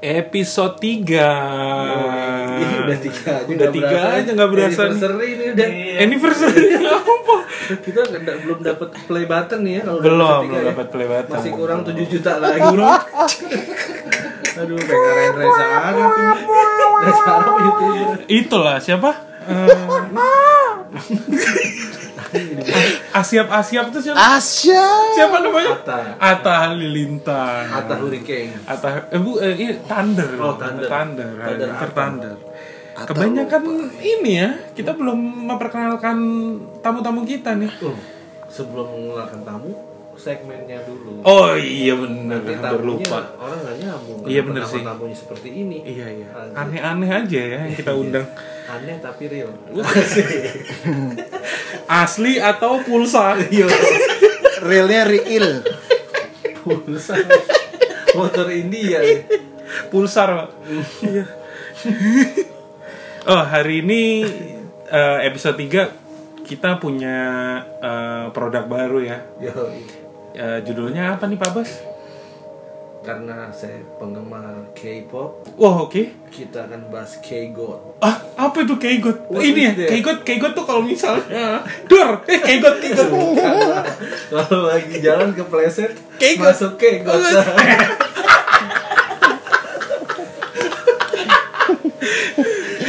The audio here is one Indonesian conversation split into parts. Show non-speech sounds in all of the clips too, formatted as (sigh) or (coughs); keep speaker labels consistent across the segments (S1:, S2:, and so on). S1: episode 3
S2: Ini iya, udah tiga aja
S1: Iya, Udah tiga aja, nggak berasa nih.
S2: Anniversary ini udah
S1: Iya.
S2: Eh,
S1: anniversary
S2: Iya.
S1: (laughs) apa
S2: kita nggak- belum dapat play button nih ya kalau udah
S1: belum
S2: episode
S1: belum
S2: tiga ya.
S1: dapat play button
S2: masih kurang 7 juta lagi aduh kayak keren Reza Arab ini Reza Arab youtuber
S1: itulah
S2: (laughs)
S1: siapa Eh, asiap asiap tuh siapa
S3: Asya.
S1: siapa namanya
S2: Atta.
S1: Atta Halilintar
S2: Atta Hurricane
S1: Atta eh, bu eh, ini Thunder
S2: Oh, Thunder.
S1: Thunder
S2: Thunder
S1: Halilintar
S2: Atta.
S1: Thunder kebanyakan ini ya kita belum memperkenalkan tamu-tamu kita nih
S2: Tuh, sebelum mengeluarkan tamu segmennya dulu
S1: oh iya bener
S2: Nanti
S1: hampir
S2: tamunya
S1: lupa
S2: orang nggak nyambung
S1: Iya, bener
S2: Kenapa
S1: sih.
S2: tamunya seperti ini
S1: Iya iya.
S2: Lanjut.
S1: Aneh-aneh aja ya yang kita undang.
S2: aneh tapi real
S1: Asli atau pulsa?
S3: Realnya real.
S2: pulsa motor India nih.
S1: Pulsar, (laughs) Pak. Iya. oh, hari ini eh, episode 3 kita punya eh, produk baru ya.
S2: Yoi.
S1: Eh, judulnya apa nih, Pak Bas?
S2: karena saya penggemar K-pop
S1: Wah, Oh, oke.
S2: kita akan bahas
S1: (laughs)
S2: K-God
S1: Ah, apa itu Keigot?
S2: What
S1: ini ya,
S2: is that?
S1: Keigot, Keigot tuh kalau misalnya Dor, eh Keigot, Keigot
S2: kalau lagi jalan kepleset
S1: K-God.
S2: masuk K-God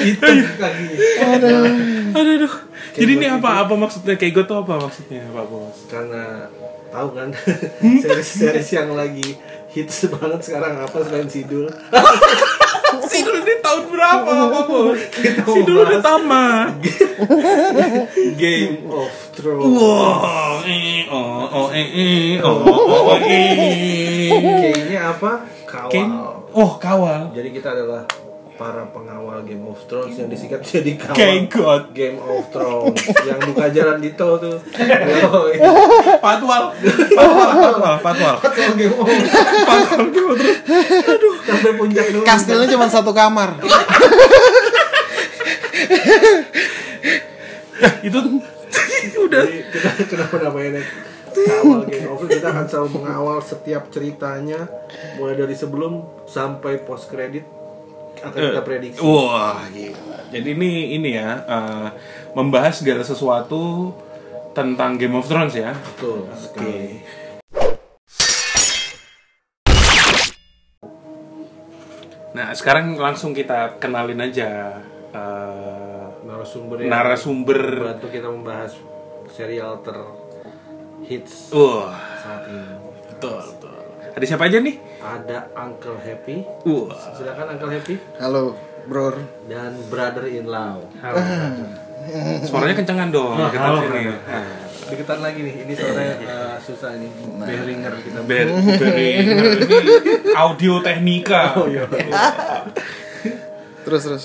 S2: itu lagi
S1: Aduh, aduh Jadi ini apa, apa maksudnya? Keigot tuh apa maksudnya, Pak Bos?
S2: karena tahu kan series-series yang lagi hits banget sekarang apa selain Sidul
S1: Sidul ini tahun berapa Pak Bos?
S2: Kita mau
S1: Sidul udah
S2: bahas.
S1: tamat.
S2: Game of Thrones
S1: Wow, eh, oh, oh, eh, eh, oh, oh, oh, eh.
S2: K-nya apa kawal
S1: Ken, oh kawal.
S2: Jadi kita adalah para pengawal Game of Thrones yang disingkat jadi kawal
S1: Kegot.
S2: Game of Thrones yang buka jalan di tol (laughs) tuh. Yoi.
S1: Patwal, patwal, patwal, patwal.
S2: Kalau Game of Thrones
S1: Patwal gimana terus?
S2: sampai puncak dulu.
S3: Kastilnya cuma satu kamar.
S1: Nah, Itu udah.
S2: Jadi kita kenapa namanya kawal Game of Thrones kita akan selalu mengawal setiap ceritanya mulai dari sebelum sampai post kredit akan kita
S1: Eh,
S2: prediksi.
S1: Wah, gila. Jadi ini ini ya eh, membahas segala sesuatu tentang Game of Thrones ya.
S2: Betul sekali.
S1: Nah, sekarang langsung kita kenalin aja. eh,
S2: Narasumber yang
S1: narasumber
S2: bantu kita membahas serial ter hits
S1: wah
S2: saat ini.
S1: betul betul ada siapa aja nih
S2: ada Uncle Happy.
S1: wah
S2: Silakan Uncle Happy
S3: Halo, Bro.
S2: dan Brother in Law.
S1: suaranya kencengan dong kita sini Nah,
S2: Deketan Eh, lagi nih, ini
S1: Iya.
S2: suaranya eh, susah nih. Behringer kita.
S1: Ber beri- ini audio teknika
S3: Terus terus.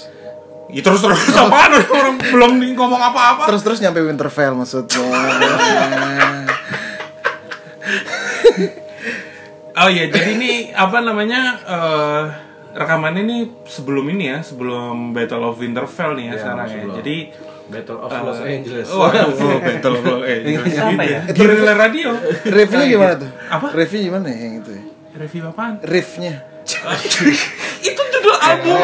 S1: ya, terus terus apaan orang belum di- ngomong apa-apa
S3: Terus terus nyampe Winterfell maksudnya.
S1: (laughs) oh iya jadi ini apa namanya eh, rekaman ini sebelum ini ya sebelum Battle of Winterfell nih ya, sekarang ya
S2: sebelum. Oh,
S1: jadi
S2: Battle of Los Angeles.
S1: Eh, oh, (laughs)
S2: (laughs)
S1: Waduh, Battle of eh,
S4: Apa ya?
S1: Guerrilla Radio.
S3: Review gimana tuh?
S1: gitu. Apa?
S3: Review gimana ya yang itu? ya?
S1: Review apaan?
S3: Riffnya.
S1: itu judul album.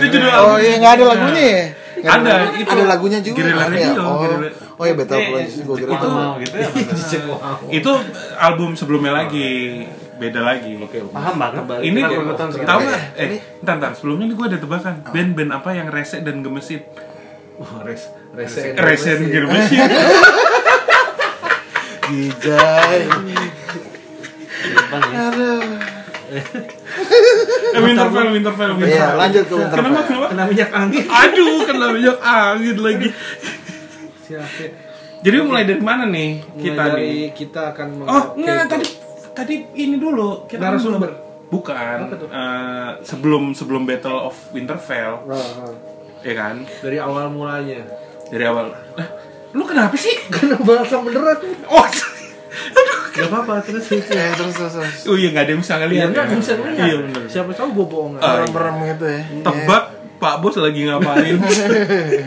S1: Itu judul album.
S3: Oh iya nggak ada lagunya ya? Nggak
S1: Ada,
S3: lagunya.
S1: itu.
S3: ada lagunya juga.
S1: Guerrilla
S3: Ada ya?
S1: Radio,
S3: Oh,
S1: Guerrilla-
S3: oh iya betul
S1: Eh,
S3: kalau gue
S1: itu-
S3: kira itu.
S4: Wow, gitu
S2: (laughs)
S4: ya. Mas?
S1: itu album sebelumnya lagi beda lagi
S4: Paham banget.
S1: ini
S4: Kita belum nonton
S1: tahu nggak eh ntar ntar sebelumnya nih gue ada tebakan band-band apa yang rese dan gemesin
S2: Oh, res resen.
S1: rese dan gemesin
S3: Gijay.
S4: Bang, ya.
S1: eh, winterfell winterfell
S3: Iya,
S1: winterfell
S3: lanjut ke
S1: kenapa
S3: Winterfell.
S1: (laughs) kenapa
S2: Kena minyak angin.
S1: aduh kena minyak angin lagi
S2: Siapa?
S1: jadi mulai dari mana nih
S2: Kita
S1: kita nih
S2: dari kita akan meng-
S1: oh
S2: Oke.
S1: enggak tadi tadi ini dulu kita kan
S2: Narasumber.
S1: belum- bukan
S2: Apa tuh?
S1: eh, sebelum sebelum battle of winterfell
S2: Ah, ah.
S1: ya kan
S2: Dari awal mulanya.
S1: dari awal Lah, lu kenapa sih
S2: Kena bahasa beneran.
S1: oh (laughs)
S2: Gak apa-apa terus itu.
S3: Ya terus terus. terus.
S1: Oh iya nggak ada yang bisa
S2: Iya
S1: ngeliat
S2: enggak bisa ngeliat.
S1: Iya bener.
S2: Siapa tahu gue bohongan.
S1: Ah.
S3: Merem gitu ya.
S1: Tebak Pak Bos lagi ngapain?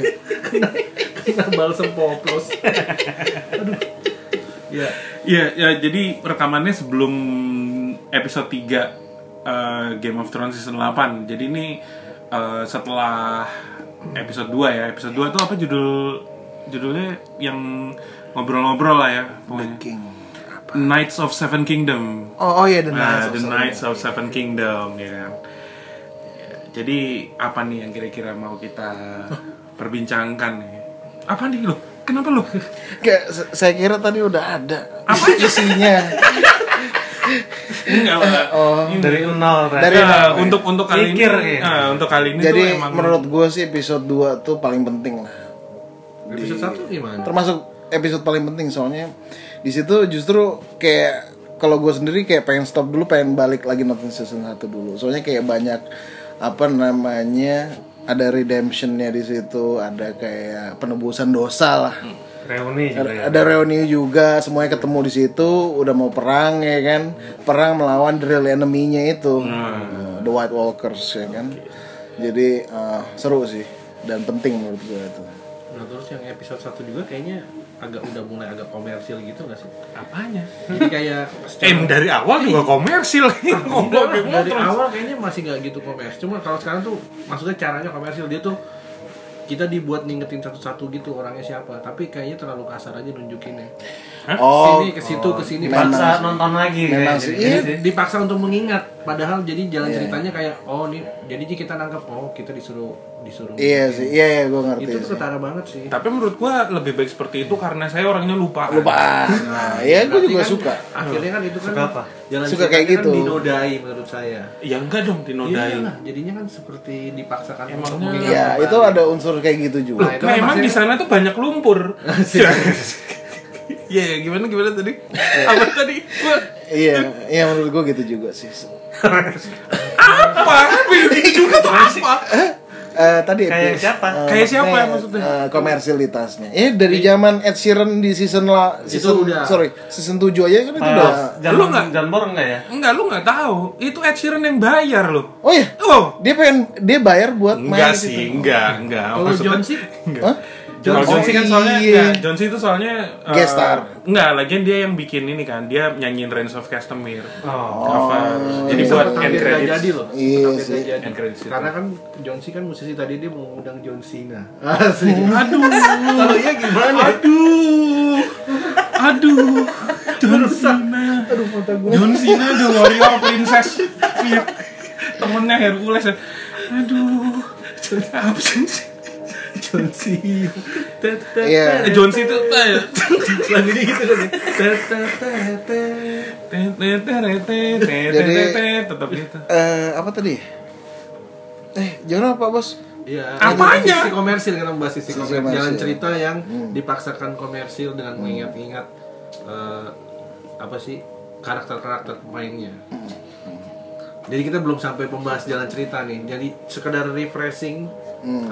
S1: (laughs)
S2: Kena balsem poplos. Aduh. Ya.
S1: Iya ya jadi rekamannya sebelum episode 3 eh, Game of Thrones season 8. Jadi ini eh, setelah episode 2 ya. Episode 2 tuh apa judul judulnya yang ngobrol-ngobrol lah ya pokoknya.
S3: King.
S1: Knights of Seven Kingdom.
S3: Oh, oh iya The Knights.
S1: Nah,
S3: of
S1: The
S3: Seven.
S1: Knights of Seven Kingdom ya kan. Ya, Jadi apa nih yang kira-kira mau
S3: (laughs)
S1: kita perbincangkan nih? Apa nih lo? Kenapa lo?
S3: Kayak se- saya kira tadi udah ada.
S1: Apa?
S3: isinya?
S1: Enggak lah.
S3: Oh.
S1: Ini-
S5: Dari nol, Ren.
S3: Dari-
S1: Nah, untuk untuk kali
S5: Mikir,
S1: ini,
S5: ya.
S1: nah, untuk kali ini
S3: Jadi
S1: tuh emang
S3: menurut gue sih episode 2 tuh paling penting lah.
S2: Episode satu gimana?
S3: termasuk episode paling penting soalnya di situ justru kayak kalau gue sendiri kayak pengen stop dulu pengen balik lagi nonton season 1 dulu soalnya kayak banyak apa namanya ada redemptionnya di situ ada kayak penebusan dosa lah
S5: Hmm, Reuni juga ya.
S3: ada reuni juga semuanya ketemu di situ udah mau perang ya kan perang melawan the real enemy-nya itu Uh,
S5: Hmm.
S3: the white walkers ya kan jadi eh, seru sih dan penting menurut gue itu
S2: Nah terus yang episode satu juga kayaknya agak udah mulai agak komersil gitu nggak sih?
S1: apanya?
S2: Jadi kayak
S1: Eh dari awal juga komersil ngomong gitu.
S2: Enggak, dari awal kayaknya masih nggak gitu komersil. Cuma kalau sekarang tuh maksudnya caranya komersil dia tuh kita dibuat ngingetin satu-satu gitu orangnya siapa. Tapi kayaknya terlalu kasar aja nunjukinnya.
S3: oh
S2: Sini ke situ ke sini
S3: memang
S5: Paksa nonton lagi
S3: Memang
S5: kayak
S3: sih,
S5: jadi-
S3: iya.
S5: jadi sih.
S2: dipaksa untuk mengingat padahal jadi jalan
S3: Iya.
S2: ceritanya kayak oh nih jadi kita nangkep oh kita disuruh disuruh
S3: Iya sih, iya, iya gue
S2: ngingetin.
S3: ngerti.
S2: itu tuh
S3: sih.
S2: ketara banget sih
S1: Tapi menurut gua lebih baik seperti itu karena saya orangnya lupa.
S3: Lupa. Nah, ya gue
S2: Berarti
S3: juga
S2: kan
S3: suka.
S2: akhirnya kan itu kan
S5: Suka apa?
S2: jalan
S3: Suka
S2: ceritanya
S3: kayak
S2: kan
S3: gitu.
S2: dinodai menurut saya
S1: Ya enggak dong Nah, dinodai.
S2: Iyalah, jadinya kan seperti dipaksakan
S1: Emangnya-
S2: untuk mengingat
S3: Iya,
S2: kembali.
S3: itu ada unsur kayak gitu juga.
S2: Nah, itu kan
S1: Memang
S2: maksudnya-
S1: di sana tuh banyak lumpur. Iya, ya, gimana gimana tadi? Apa tadi? Gua
S3: Iya, iya menurut gue gitu juga sih.
S1: apa? Itu juga tuh apa?
S3: Eh, tadi episode-
S5: Kayak siapa?
S3: eh,
S1: Kayak siapa
S3: maksudnya,
S1: maksudnya?
S3: eh, komersialitasnya. Iya dari zaman Ed Sheeran di season la, season
S2: udah.
S3: sorry, season 7 aja kan itu
S5: Pas
S3: udah.
S1: Lu
S5: Jangan
S1: nggak?
S5: jangan borong nggak ya?
S1: Enggak, lu nggak tahu. Itu Ed Sheeran yang bayar lo.
S3: Oh iya,
S1: Oh.
S3: dia pengen dia bayar buat main gitu.
S1: Enggak
S3: di situ.
S1: sih, enggak, enggak.
S2: kalau
S1: Maksudnya-
S2: John sih
S1: Enggak.
S3: Hah?
S1: John,
S3: Oh,
S1: John Cena kan soalnya
S3: iya.
S1: enggak, John Cena itu soalnya eh,
S3: Guest star.
S1: Enggak, lagian dia yang bikin ini kan, dia nyanyiin Reigns of Castamere.
S5: Oh.
S1: Cover. (laughs) Jadi
S2: Bisa
S1: buat
S2: tetap
S1: end
S2: biar nggak
S1: credits.
S2: jadi loh
S3: Iya
S2: Tetap biar
S3: sih.
S2: nggak jadi.
S1: End credits itu.
S2: karena kan John Cena kan musisi tadi dia mau ngundang John
S3: (laughs)
S2: Cena asik
S1: Aduh.
S2: kalau iya gimana
S1: Aduh. Aduh. John Cena.
S2: aduh mata gue
S1: John Cena the warrior princess. Iya. Temennya Hercules. ya. Aduh. Apa sih?
S2: John Cena
S3: Iya.
S1: Eh,
S2: (laughs)
S1: John Cena itu
S2: lagunya gitu kan ya. Tet, tet, tet, tet.
S1: tetap gitu.
S3: Eh, apa tadi? Eh, jangan apa, Bos?
S2: Iya,
S1: Apanya?
S2: ada sisi komersil kita membahas sisi
S3: Sisi
S2: komersil.
S3: komersil.
S2: Jalan cerita yang dipaksakan komersil dengan mengingat-ingat eh, apa sih karakter-karakter pemainnya. Jadi kita belum sampai membahas jalan cerita nih. Jadi sekedar refreshing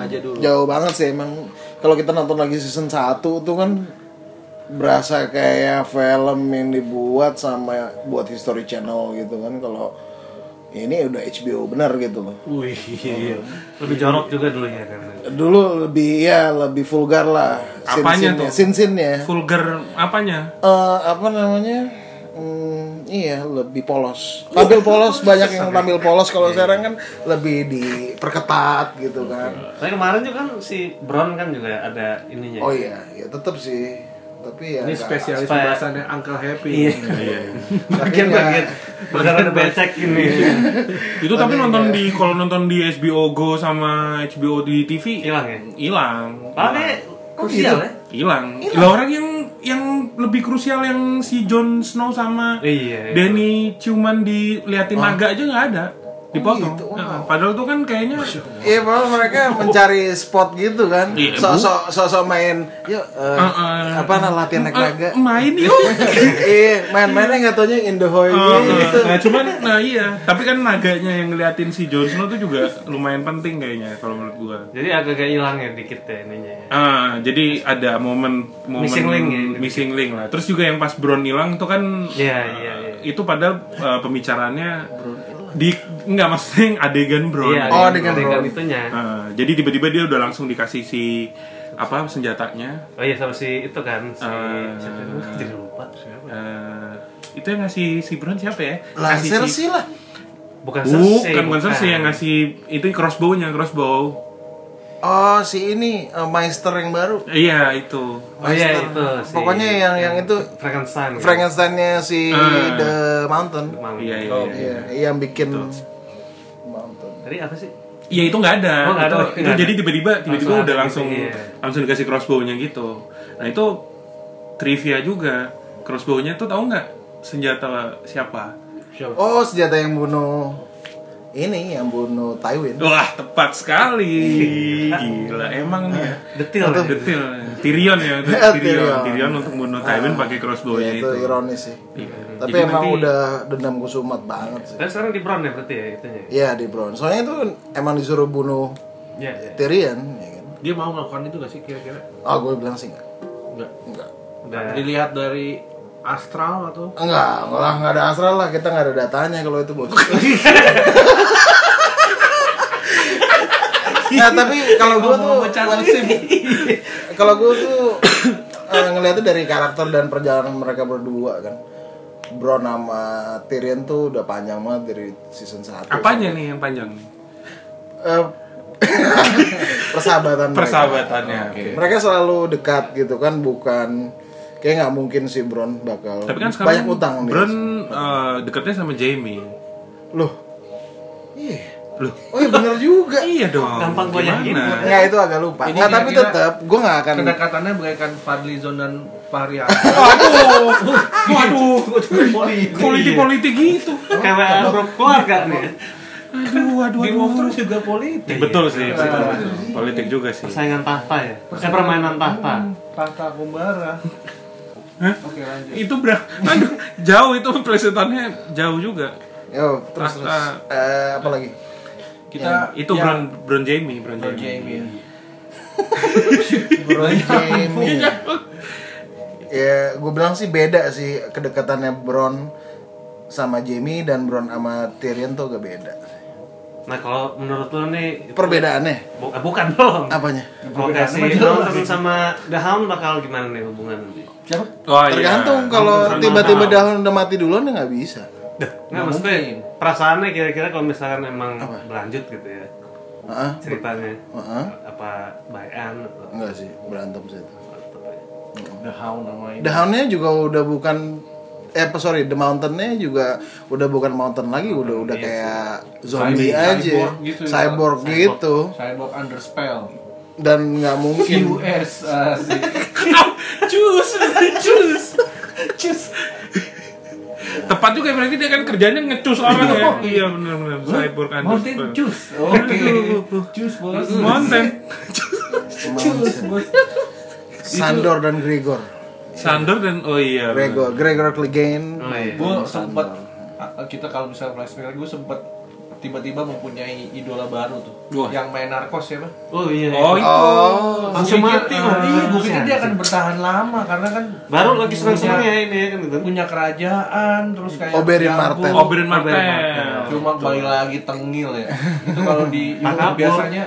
S2: aja dulu.
S3: Jauh banget sih emang kalau kita nonton lagi season 1 tuh kan berasa kayak film yang dibuat sama buat History Channel gitu kan kalau ini udah HBO benar gitu loh.
S2: Wih,
S5: Lebih jorok juga dulu ya kan.
S3: Dulu lebih ya lebih vulgar lah.
S1: Apanya tuh?
S3: Sin ya.
S1: Vulgar apanya?
S3: Eh, apa namanya? Hmm, iya lebih polos. Tampil polos banyak yang tampil polos kalau sekarang kan lebih diperketat gitu kan.
S5: Saya kemarin juga kan si Brown kan juga ada ininya.
S3: Oh iya, ya tetap sih. Tapi ya
S2: ini
S3: nggak-
S2: spesialis
S5: Supaya-
S2: pembahasannya Uncle Happy.
S5: Iya. (laughs) Bagian-bagian
S3: iya.
S5: berdarah becek ini.
S1: itu tapi
S3: iya.
S1: nonton di kalau nonton di HBO Go sama HBO di TV
S5: Hilang ya.
S1: hilang
S5: Paling krusial ya.
S1: hilang lah orang yang yang lebih krusial yang si Jon Snow sama
S5: Iya, Oh. iya.
S1: Danny ciuman diliatin naga aja nggak ada dipotong
S3: gitu,
S1: Nah, padahal tuh kan kayaknya
S3: Iya, malah mereka mencari spot gitu kan.
S1: Iya, Bu.
S3: Sosok sosok main yuk eh,
S1: Eh, eh,
S3: apa nah, latihan naik naga.
S1: eh, main yuk
S3: (laughs) Iya, main-mainnya nggak taunya in the
S1: Eh,
S3: hoy gitu.
S1: nah cuman nah iya tapi kan naganya yang ngeliatin si Jon Snow tuh juga lumayan penting kayaknya kalau menurut gua
S5: Jadi agak-agak hilang ya dikit ya ininya. ya.
S1: Ah, jadi ada momen momen
S5: Missing link ya?
S1: missing link lah. Terus juga yang pas Brown hilang itu kan
S5: Iya,
S1: eh,
S5: iya, iya.
S1: itu padahal eh, pembicaraannya di nggak maksudnya yang adegan Brown.
S5: Iya,
S3: Oh,
S5: dengan-
S3: dengan
S5: dengan
S3: Brown.
S5: itunya.
S1: Ah, jadi tiba-tiba dia udah langsung dikasih si apa senjatanya.
S5: Oh iya sama si itu kan si
S1: Eh,
S5: siapa itu? Jadi lupa siapa.
S1: Eh, itu yang ngasih si Brown siapa ya? Kasih
S3: Laser
S1: si-
S3: sih lah.
S5: Bukan Cersei.
S1: Bukan, bukan Cersei yang ngasih itu crossbow-nya, crossbow.
S3: Oh, si ini eh, Meister yang baru.
S1: Iya, itu.
S5: Oh iya
S3: Meister.
S5: itu si
S3: Pokoknya yang yang itu
S5: Frankenstein. kan?
S3: Frankenstein-nya si
S1: Eh.
S3: The Mountain.
S5: Mang.
S1: Iya, iya. iya.
S3: Iya, yang bikin Mountain.
S5: Tadi apa sih?
S1: Iya itu nggak ada.
S5: Oh, nggak
S1: itu,
S5: ada. Oke,
S1: (laughs) itu
S5: nggak ada.
S1: jadi tiba-tiba tiba-tiba udah
S5: Langsung ada
S1: langsung
S5: gitu, iya.
S1: langsung dikasih crossbow-nya gitu. Nah itu trivia juga. Crossbow-nya tuh tahu nggak senjata siapa?
S2: Siapa?
S3: Oh, senjata yang bunuh ini yang bunuh Tywin.
S1: Wah tepat sekali. Gila emang nih. ya.
S5: Iya. Detil. ya?
S1: Detil. Tyrion ya itu.
S3: Tyrion.
S1: Tyrion. Tyrion untuk bunuh Tywin pakai crossbow-nya
S3: Ya, iya. itu
S1: Oh, iya, itu. Iya.
S3: ironis sih. Tapi
S1: Jadi
S3: emang
S1: nanti-
S3: udah dendam kusumat banget sih.
S5: Tapi sekarang di Brown ya berarti ya itunya.
S3: Iya di Bronn. Soalnya itu emang disuruh bunuh
S5: Iya. iya.
S3: Tyrion, ya kan?
S2: Dia mau ngelakukan itu gak sih kira-kira?
S3: Ah, gue bilang sih enggak.
S2: Enggak.
S3: Enggak.
S5: Udah.
S2: Dilihat dari astral atau
S3: Enggak, lah enggak ada asral lah, kita enggak ada datanya kalau itu bos. nah tapi kalau gue tuh (laughs) prinsip, kalau gue tuh eh, ngeliatnya dari karakter dan perjalanan mereka berdua kan. Bro nama Tyrion tuh udah panjang banget dari season 1
S1: Apanya nih yang panjang?
S3: Eh, (laughs) persahabatan mereka.
S1: Persahabatannya. Oke.
S3: mereka selalu dekat gitu kan bukan kayak nggak mungkin si Bron bakal
S1: Tapi kan
S3: banyak
S1: sekarang
S3: utang ya. dia.
S1: Bron eh, dekatnya sama Jamie.
S3: loh iya
S1: Loh.
S3: oh iya bener juga
S1: Iya dong.
S5: Gampang banyak
S1: Gimana?
S3: nggak itu agak lupa
S2: Ini
S3: nggak tapi
S2: kira-kira
S3: tetap gue nggak akan
S2: kedekatannya bagaikan Fadlizon dan Fahri
S1: Waduh,
S3: Oh,
S1: waduh,
S5: (laughs)
S1: politik-politik gitu.
S5: Kayak grup keluarga nih.
S1: Aduh, aduh,
S2: Game of
S1: aduh.
S2: Thrones juga politik.
S1: Iya, Betul sih, betul. politik juga sih.
S5: Persaingan tahta ya. Eh permainan tahta.
S2: Tata Kumbara.
S1: Hah?
S2: Oke lanjut.
S1: Itu berapa? Aduh, jauh itu plesetannya jauh juga.
S3: yo terus terus
S1: Ah,
S3: Eh, apa lagi
S2: Kita
S1: Itu Brown Brown Jamie, Brown
S2: Bro
S1: Jamie.
S2: Jamie.
S3: Bron
S1: Iya,
S3: Jamie ya gue bilang sih beda sih kedekatannya Bron sama Jamie dan Bron sama Tyrion tuh agak beda
S5: Nah kalau menurut lo nih itu-
S3: perbedaannya
S5: Bu- eh, bukan belum.
S3: apanya
S5: Kalau kasih Mountain sama The Hound bakal gimana nih hubungan?
S2: Siapa?
S1: Oh iya.
S3: tergantung kalau
S5: Sama
S3: tiba-tiba
S5: Dawn.
S3: Dawn udah mati duluan ya nggak bisa
S5: Nggak maksudnya perasaannya kira-kira kalau misalkan emang berlanjut gitu ya
S3: Heeh.
S5: ceritanya
S3: Heeh.
S5: apa bayan atau
S3: Enggak sih, berantem sih itu.
S5: atau apa ya?
S2: The Hound namanya.
S3: The Hound-nya juga udah bukan eh apa, sorry, The Mountain-nya juga udah bukan mountain lagi, udah udah kayak zombie
S2: Cyborg
S3: aja,
S2: gitu ya.
S3: cyborg gitu,
S2: Cyborg under spell. uh,
S3: dan nggak mungkin.
S2: US (laughs) asik.
S1: Cus, cus, cus. Tepat juga berarti dia kan kerjanya ngecus orang ya. Iya benar-benar cyborg
S2: Mountain
S1: underscore.
S2: Juice. Oke. Juice bos.
S1: Mountain.
S2: Juice bos.
S3: Sandor dan Gregor,
S1: Sandor dan oh iya. benar.
S3: Gregor, Gregor Clegane.
S5: Oh iya.
S2: Gue sempet a- kita kalau bisa flashback gue sempet tiba-tiba mempunyai idola baru tuh
S1: Wah.
S2: yang main narkos ya bang
S5: Oh iya.
S1: Oh itu.
S2: Gue
S5: Cuma,
S2: pikir dia-
S5: eh,
S2: iya, gue pikir dia
S5: sengaja.
S2: akan bertahan lama karena kan
S5: Baru lagi senang-senang ya ini ya kan gitu.
S2: punya kerajaan terus kayak
S3: Oberyn
S2: jago.
S3: Martell.
S1: Oberyn Martell.
S5: Oberyn Martell.
S2: cuma balik lagi tengil ya itu kalau
S3: (laughs)
S2: di Europe
S5: Maka Paul.
S2: biasanya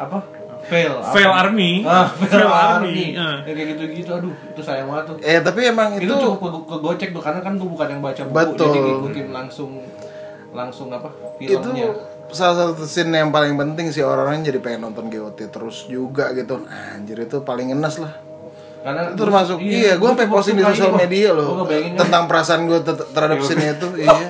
S2: apa fail apa?
S1: Fail Army.
S3: (laughs)
S2: ah, fail, army,
S1: eh.
S2: Ya, kayak gitu gitu aduh itu sayang banget tuh
S3: Eh tapi emang
S2: itu,
S3: Ah. itu
S2: cukup ke- kegocek tuh karena kan gue bukan yang baca buku
S3: Betul.
S2: jadi ngikutin langsung langsung apa
S3: itu
S2: filmnya
S3: salah satu scene yang paling penting sih orang-orang jadi pengen nonton GOT terus juga gitu. Anjir itu paling enes lah.
S2: karena
S3: itu termasuk iya, gue sampai posting di sosial media loh tentang perasaan gue terhadap scene itu iya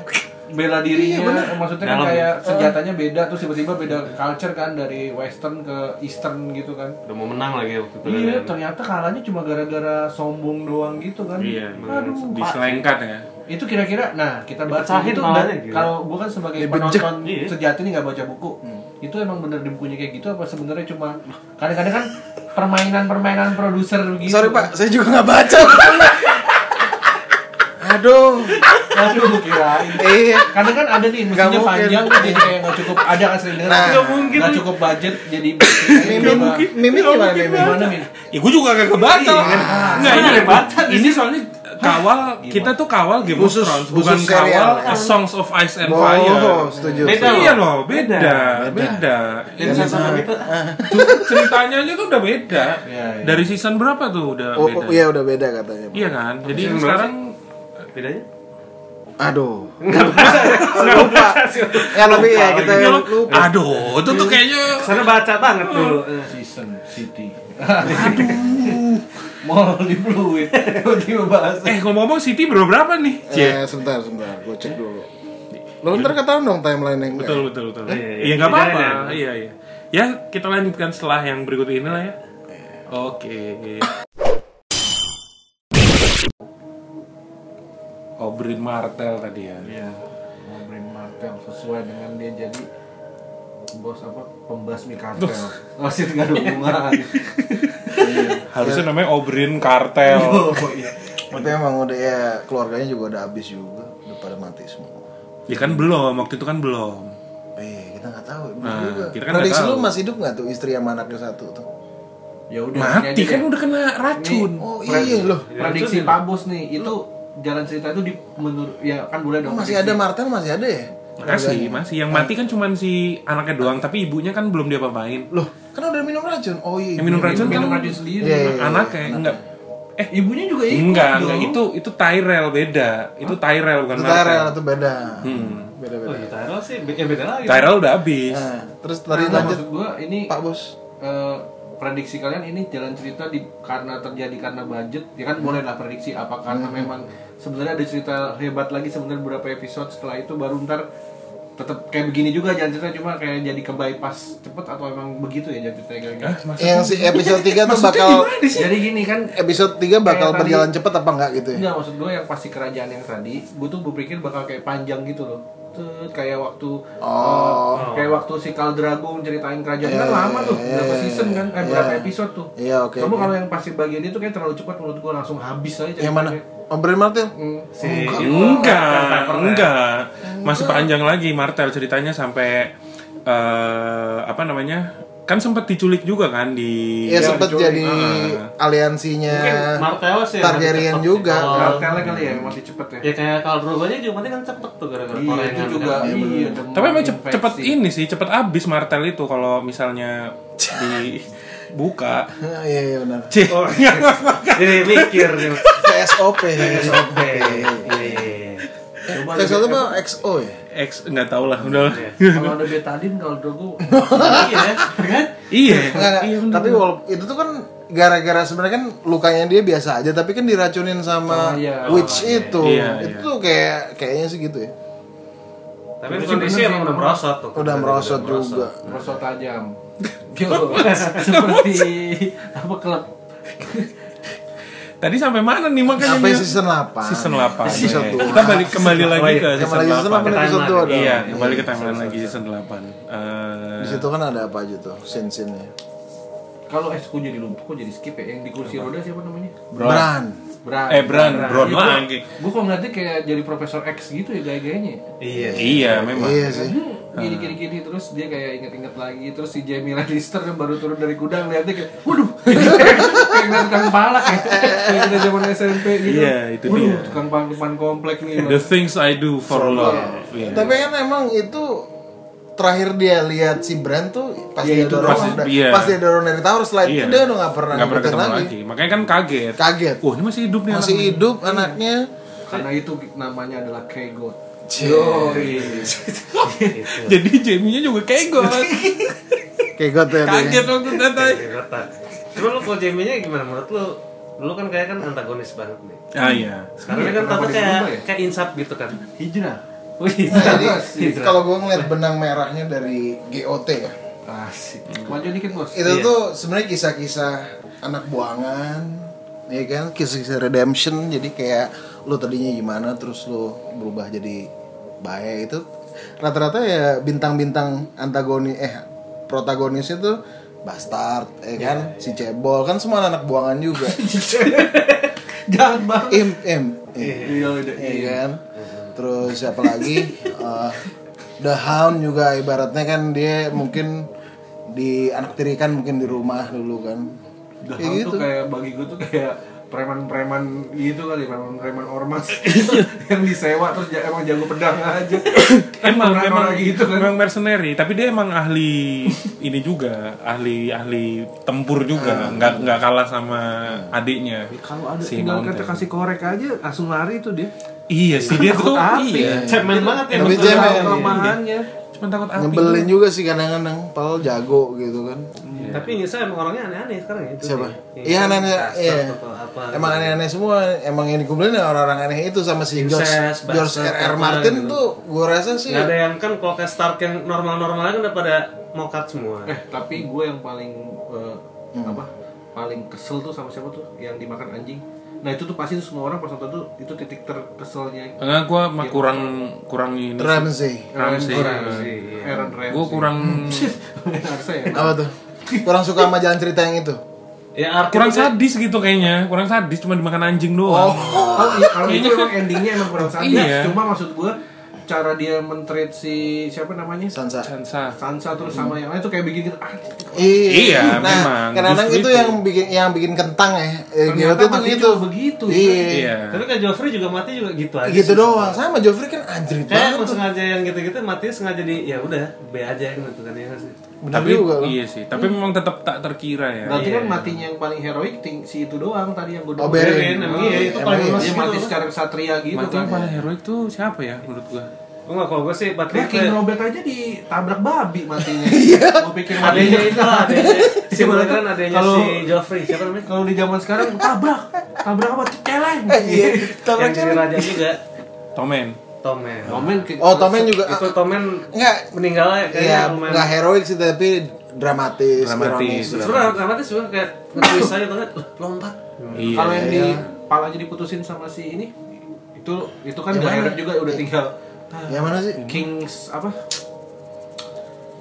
S2: bela dirinya maksudnya kan
S5: Dalam.
S2: kayak senjatanya beda terus tiba-tiba beda culture kan dari western ke eastern gitu kan
S5: Udah mau menang lagi waktu itu.
S2: Iya,
S5: kan.
S2: ternyata kalahnya cuma gara-gara sombong doang gitu kan.
S1: Iya,
S2: Aduh, Pak.
S1: diselengkat ya.
S2: Itu kira-kira, nah kita bahas
S5: Dipecahin
S2: itu
S5: malahnya,
S2: dan
S5: gila.
S2: kalau gua kan sebagai
S3: Dibejek.
S2: penonton
S5: Iya.
S2: sejati nih nggak baca buku,
S3: Hmm.
S2: itu emang bener di bukunya kayak gitu apa sebenarnya cuma kadang-kadang kan permainan-permainan produser begitu.
S3: sorry pak saya juga nggak baca (laughs) aduh
S2: Aduh, kirain.
S3: iya
S2: Kadang kan ada nih,
S3: Nggak
S2: mestinya
S3: mungkin.
S2: panjang kan jadi kayak nggak cukup, ada kan sering dengar,
S3: Nah. Nggak
S1: mungkin.
S2: nggak cukup budget
S3: (coughs)
S2: jadi
S3: mimin mimin gimana mimin
S2: gimana Min? Nah,
S1: Ya gue juga kagak baca.
S3: Iya.
S1: Enggak ini baca. Ini soalnya kawal kita tuh kawal Game of
S3: Khusus-
S1: Thrones,
S3: khusus
S1: bukan
S3: serial. ya.
S1: kawal A Songs of Ice and
S3: oh
S1: Fire.
S3: setuju
S5: Beda
S3: setuju.
S1: Iya loh, beda,
S5: Beda.
S1: beda. beda.
S5: Ini sama sama kita.
S1: Ceritanya aja tuh udah beda.
S2: Iya, iya.
S1: Dari season berapa tuh udah
S3: oh,
S1: beda?
S3: Iya. oh, iya udah beda katanya Pak.
S1: Iya kan? Jadi sekarang
S5: Bedanya?
S3: Aduh. (laughs) lupa. Ya tapi ya kita lupa.
S1: gitu Aduh, itu tuh kayaknya
S5: Kesana baca banget dulu.
S6: Season City. Mall di Pluit. Tiba-tiba bahas.
S1: Eh ngomong-ngomong City berapa berapa nih? Cie.
S3: Eh, sebentar, sebentar. Gue cek dulu. Lo ntar ketahuan dong timeline yang
S1: Betul betul betul.
S5: Iya, iya.
S1: Iya nggak apa-apa.
S5: Iya, iya.
S1: Iya iya. Ya kita lanjutkan setelah yang berikut ini lah ya. Oke. Obrin Martel tadi ya.
S6: Iya.
S2: Ngobrolin martel sesuai dengan dia jadi bos apa pembasmi kartel.
S6: Wasit nggak ada hubungan.
S1: Harusnya namanya Obrin Kartel.
S6: Oh iya.
S3: Tapi emang udah ya keluarganya juga udah habis juga, udah pada mati semua.
S1: ya kan belum, waktu itu kan belum.
S3: Eh, kita nggak tahu.
S1: Nah, kita
S3: kita
S1: kan
S3: kan
S1: nggak
S3: Prediksi
S1: tahu.
S3: lu masih hidup nggak tuh istri sama anaknya satu tuh?
S2: Ya udah. ini
S3: Iya,
S1: Mati
S2: aja
S1: kan
S2: deh.
S1: udah kena racun.
S3: Oh iya loh.
S2: Prediksi Pak Bos nih itu jalan cerita itu di menurut ya kan boleh
S3: Lu
S2: dong.
S3: masih ada Martel masih ada ya?
S1: Masih, masih. Yang mati kan cuman si anaknya doang, tapi ibunya kan belum diapa-apain.
S3: Loh, kan udah minum racun. Oh iya.
S1: Yang minum
S3: iya.
S1: racun
S2: minum
S1: kan
S2: racun sendiri.
S3: Iya, iya, iya.
S1: anaknya enggak
S2: Eh ibunya juga ikut
S1: Enggak,
S2: dong.
S1: enggak itu itu Tyrell beda. Itu Tyrell bukan
S3: Itu
S1: Martel.
S3: Tyrell itu beda.
S5: Oh,
S2: Hmm.
S3: Beda-beda.
S5: ya Tyrell sih, be- eh, beda lagi.
S1: Tyrell udah habis.
S3: Nah, terus
S2: Nah,
S3: tadi lanjut
S2: maksud gua ini
S3: Pak Bos.
S2: eh, prediksi kalian ini jalan cerita di karena terjadi karena budget ya kan boleh lah prediksi apa karena
S3: Hmm.
S2: memang sebenarnya ada cerita hebat lagi sebenarnya beberapa episode setelah itu baru ntar tetap kayak begini juga jalan cerita cuma kayak jadi ke bypass cepet atau emang begitu ya jalan ceritanya kira-kira
S3: Yang si episode 3 tuh bakal
S2: jadi gini kan
S3: episode 3 bakal
S2: Kayak tadi-
S3: berjalan cepet apa enggak gitu ya?
S2: Enggak, maksud gue yang pasti kerajaan yang tadi, gue tuh berpikir bakal kayak panjang gitu loh. Tut, kayak waktu eh, kayak waktu si Khal Drago ceritain kerajaan kan lama tuh, berapa season kan, eh, berapa episode tuh.
S3: Iya, oke,
S2: Kamu
S3: oke.
S2: kalau yang pasti bagian itu kayak terlalu cepat menurut gue langsung habis aja
S3: Yang mana? Oh, Brian Martel?
S2: Hmm.
S5: Si
S3: Oh, ya?
S1: Enggak, enggak. Masih panjang lagi Martel ceritanya sampai eh apa namanya? Kan sempat diculik juga kan di
S2: Iya,
S3: Ya, sempet jadi
S2: Ah.
S3: aliansinya
S5: Martel
S2: ya,
S5: sih. yang
S3: Targaryen
S5: cepet
S3: juga.
S5: sih. Kalau-
S2: Kartelnya kali ya yang masih cepet ya.
S5: Ya kayak kalau Drogo aja juga mati kan cepet tuh gara-gara
S2: Iya, itu
S5: korengan
S2: juga.
S5: kan.
S2: Iya,
S1: Tapi emang cep-
S2: infeksi.
S1: cepet ini sih, cepet abis Martel itu kalau misalnya dibuka.
S3: Ah, Iya, iya benar. (laughs)
S1: Cih.
S5: Jadi mikir nih.
S3: VSOP.
S5: SOP.
S2: Iya, Coba ada-
S3: VSOP apa XO ya?
S1: X nggak tau lah udah. lah.
S3: Iya.
S2: kalau ada betadin kalau Drago (laughs)
S5: Iya, kan?
S1: Iya.
S3: Enggak, enggak.
S1: Iya bener.
S3: tapi walaupun itu tuh kan gara-gara sebenarnya kan lukanya dia biasa aja tapi kan diracunin sama
S2: Oh, iya.
S3: witch itu.
S1: Iya,
S3: itu
S1: iya.
S3: tuh kayak kayaknya sih gitu ya.
S5: Tapi kondisi emang udah merosot tuh.
S3: Udah merosot juga.
S2: merosot tajam. Yo, seperti apa klub
S1: Tadi sampai mana nih makanya?
S3: Sampai
S1: Mia?
S3: season 8.
S1: Season 8.
S3: Season
S1: Iya.
S3: dua.
S1: Kita balik kembali lagi ke
S3: Yang
S1: season
S3: lagi season 8
S5: delapan.
S1: 8.
S3: episode 2
S1: Iya, kembali ke timeline lagi season 8. Eh,
S3: Di situ kan ada apa aja tuh scene-scene-nya.
S2: Kalau eh kok jadi lupa, kok jadi skip ya? Yang di kursi roda siapa namanya?
S3: Bran.
S2: Bran.
S1: eh Bran, Bron
S2: Iya, gua-
S1: lagi.
S2: Gua kok ngeliatnya kayak jadi Profesor X gitu ya gaya-gayanya.
S5: Iya.
S1: Iya, memang.
S3: Iya sih.
S1: Ah.
S2: Gini-gini terus dia kayak inget-inget lagi terus si Jamie Lannister yang baru turun dari kuda ngeliatnya kayak waduh (laughs) kayak ngeliat tukang palak ya kayak kita zaman SMP gitu
S1: Iya, itu
S2: waduh,
S1: dia.
S2: tukang palak depan komplek nih
S1: The things I do for love. Iya.
S3: Tapi kan emang itu terakhir dia lihat si Bran tuh pas
S2: Iya,
S3: dia
S2: itu
S3: dorong
S1: doang.
S3: udah-
S1: Iya.
S3: pas dia dorong dari tower slide
S1: Iya.
S3: itu dia udah nggak pernah
S1: Nggak pernah
S3: ngikutin
S1: ketemu
S3: lagi.
S1: lagi. Makanya kan kaget.
S3: Kaget.
S1: Wah, ini masih hidup nih
S3: Masih
S1: anak nih.
S3: hidup anaknya.
S2: karena itu namanya adalah Kegot
S3: Cie.
S1: (laughs) Jadi Jamie-nya juga
S3: (laughs)
S1: kegot.
S3: Kegot ya dia.
S1: kaget waktu datang.
S5: Jakarta. Cuma lu kalau Jamie-nya gimana menurut lu? Dulu kan kayak kan antagonis banget nih.
S1: Ah iya.
S5: Sekarang dia kan
S2: kenapa
S5: tata
S2: dia
S5: kayak
S2: berubah ya?
S5: kayak insap gitu kan.
S2: hijrah
S5: Wih,
S3: Nah, jadi
S5: hijrah.
S3: kalau gue ngeliat benang merahnya dari GOT ya
S2: asik maju dikit bos
S3: itu
S5: Iya.
S3: tuh sebenarnya kisah-kisah anak buangan ya kan kisah-kisah redemption jadi kayak lu tadinya gimana terus lu berubah jadi baik itu rata-rata ya bintang-bintang antagoni eh protagonisnya tuh bastard ya kan si cebol kan semua anak buangan juga
S2: (laughs) jangan banget
S3: im im im.
S2: iya udah
S3: Iya kan? Terus siapa lagi? Eh, The Hound juga ibaratnya kan dia mungkin di anak tirikan mungkin di rumah dulu kan.
S2: The
S3: Kayak
S2: Hound
S3: gitu.
S2: tuh kayak bagi gue tuh kayak
S7: preman-preman gitu kali preman-preman
S2: (laughs)
S7: ormas
S2: Iya.
S7: yang disewa terus ja- emang jago pedang aja
S1: emang memang
S7: Orang-orang gitu kan
S1: memang mercenary tapi dia emang ahli ini juga ahli ahli tempur juga
S3: Ah.
S1: nggak nggak kalah sama adiknya
S3: Ya,
S2: Kalau ada
S1: si
S2: tinggal
S1: Mountain.
S2: kita kasih korek aja langsung lari itu dia.
S1: iya sih dia tuh iya
S5: cemen banget ya
S3: Tapi
S5: maksudnya.
S3: cemen.
S2: Tahu kelemahannya.
S1: cuma takut
S5: Ah,
S1: api
S5: iya.
S3: Nyebelin juga sih kadang-kadang, pal jago gitu kan.
S5: Tapi Nisa emang orangnya aneh-aneh sekarang ya itu.
S3: Siapa?
S5: Ya,
S3: Iya aneh-aneh.
S5: Kastor
S3: Iya.
S5: atau apa. gitu.
S3: Emang aneh-aneh semua. Emang yang dikumpulin ya orang-orang aneh itu sama si George,
S5: Incest,
S3: George
S5: bastard,
S3: R. R.
S5: apa
S3: Martin
S5: gitu.
S3: tuh gue rasa sih
S5: Nggak ada yang kan kalau kayak Stark yang normal-normalnya kan udah pada mokat semua.
S2: Eh, tapi gue yang paling eh, apa? Paling kesel tuh sama siapa tuh yang dimakan anjing. Nah, itu tuh pasti tuh semua orang pas nonton tuh itu titik terkeselnya
S1: Enggak, gue mah kurang kurang ini.
S3: Ramsey.
S1: Ramsey.
S2: Ramsey, iya. Aaron Ramsey.
S1: Gue kurang
S2: (laughs)
S3: Hmm.
S2: Harusnya ya.
S3: Apa tuh? Kurang suka sama jalan cerita yang itu.
S5: Ya artinya
S1: kurang sadis gitu kayaknya. Kurang sadis cuma dimakan anjing doang.
S2: Oh iya, kalau itu emang endingnya emang kurang sadis.
S1: Iya.
S2: Cuma maksud gue cara dia mentreat si siapa namanya
S3: Sansa.
S1: Sansa.
S2: Sansa terus
S5: Hmm.
S2: sama yang lain tuh kayak bikin gitu. Ah,
S1: Iya,
S3: nah,
S1: memang.
S3: Kadang-kadang
S1: Justru
S3: itu,
S1: itu.
S3: yang bikin yang bikin kentang ya. Eh,
S2: ternyata
S3: Geralt itu
S2: mati
S3: gitu.
S2: cuma begitu.
S3: Iya.
S5: Tapi kan Joffrey juga mati juga gitu aja.
S3: Gitu
S5: sih.
S3: doang. Sama Joffrey kan
S1: Eh,
S3: anjrit
S5: Kayak
S3: banget
S5: emang
S3: tuh.
S5: sengaja yang gitu-gitu mati sengaja di ya udah B aja kan gitu kan ya nggak sih.
S3: Bener
S1: Tapi
S3: juga loh.
S1: iya sih. Tapi memang tetap tak terkira ya.
S2: Berarti
S5: Iya.
S2: kan matinya yang paling heroik ting- si itu doang tadi yang gue
S3: Oh,
S5: Keren,
S3: Beren.
S5: emang iya itu
S3: Emang
S5: paling
S3: iya.
S5: luas
S2: Dia
S5: gitu.
S2: mati secara satria gitu
S1: Mati
S2: kan.
S3: ya.
S1: yang paling heroik tuh siapa ya menurut gue?
S5: Enggak kalau gue sih
S2: Dia
S5: Patrick
S2: King Robert aja ditabrak babi
S3: (laughs)
S2: matinya.
S3: Iya.
S2: Gue pikir
S5: adanya
S2: matinya
S5: itu lah
S2: (laughs)
S5: adanya si
S2: Sebenarnya
S5: Mulder kan adanya si
S2: kalau-
S5: Joffrey siapa namanya?
S2: kalau di zaman sekarang tabrak, tabrak apa? Celeng.
S3: (laughs) Iya. Tapi
S5: Yang jadi raja juga
S1: Tomen.
S5: Tomen.
S2: Momen ke-
S3: Oh, Tomen juga
S5: Itu Tomen
S3: enggak
S5: meninggal ya kayaknya
S3: Iya,
S5: lumayan.
S3: nggak heroik sih tapi dramatis,
S1: Dramatis.
S3: ironis.
S5: Sebenarnya dramatis juga kayak nge-twist aja tuh kan "Loh, lompat.
S3: Hmm.
S1: Iya.
S2: kalau yang di palanya diputusin sama si ini itu itu kan
S3: Yang
S2: udah
S3: mana?
S2: heroik juga udah tinggal
S3: Yang mana sih?
S2: Kings apa?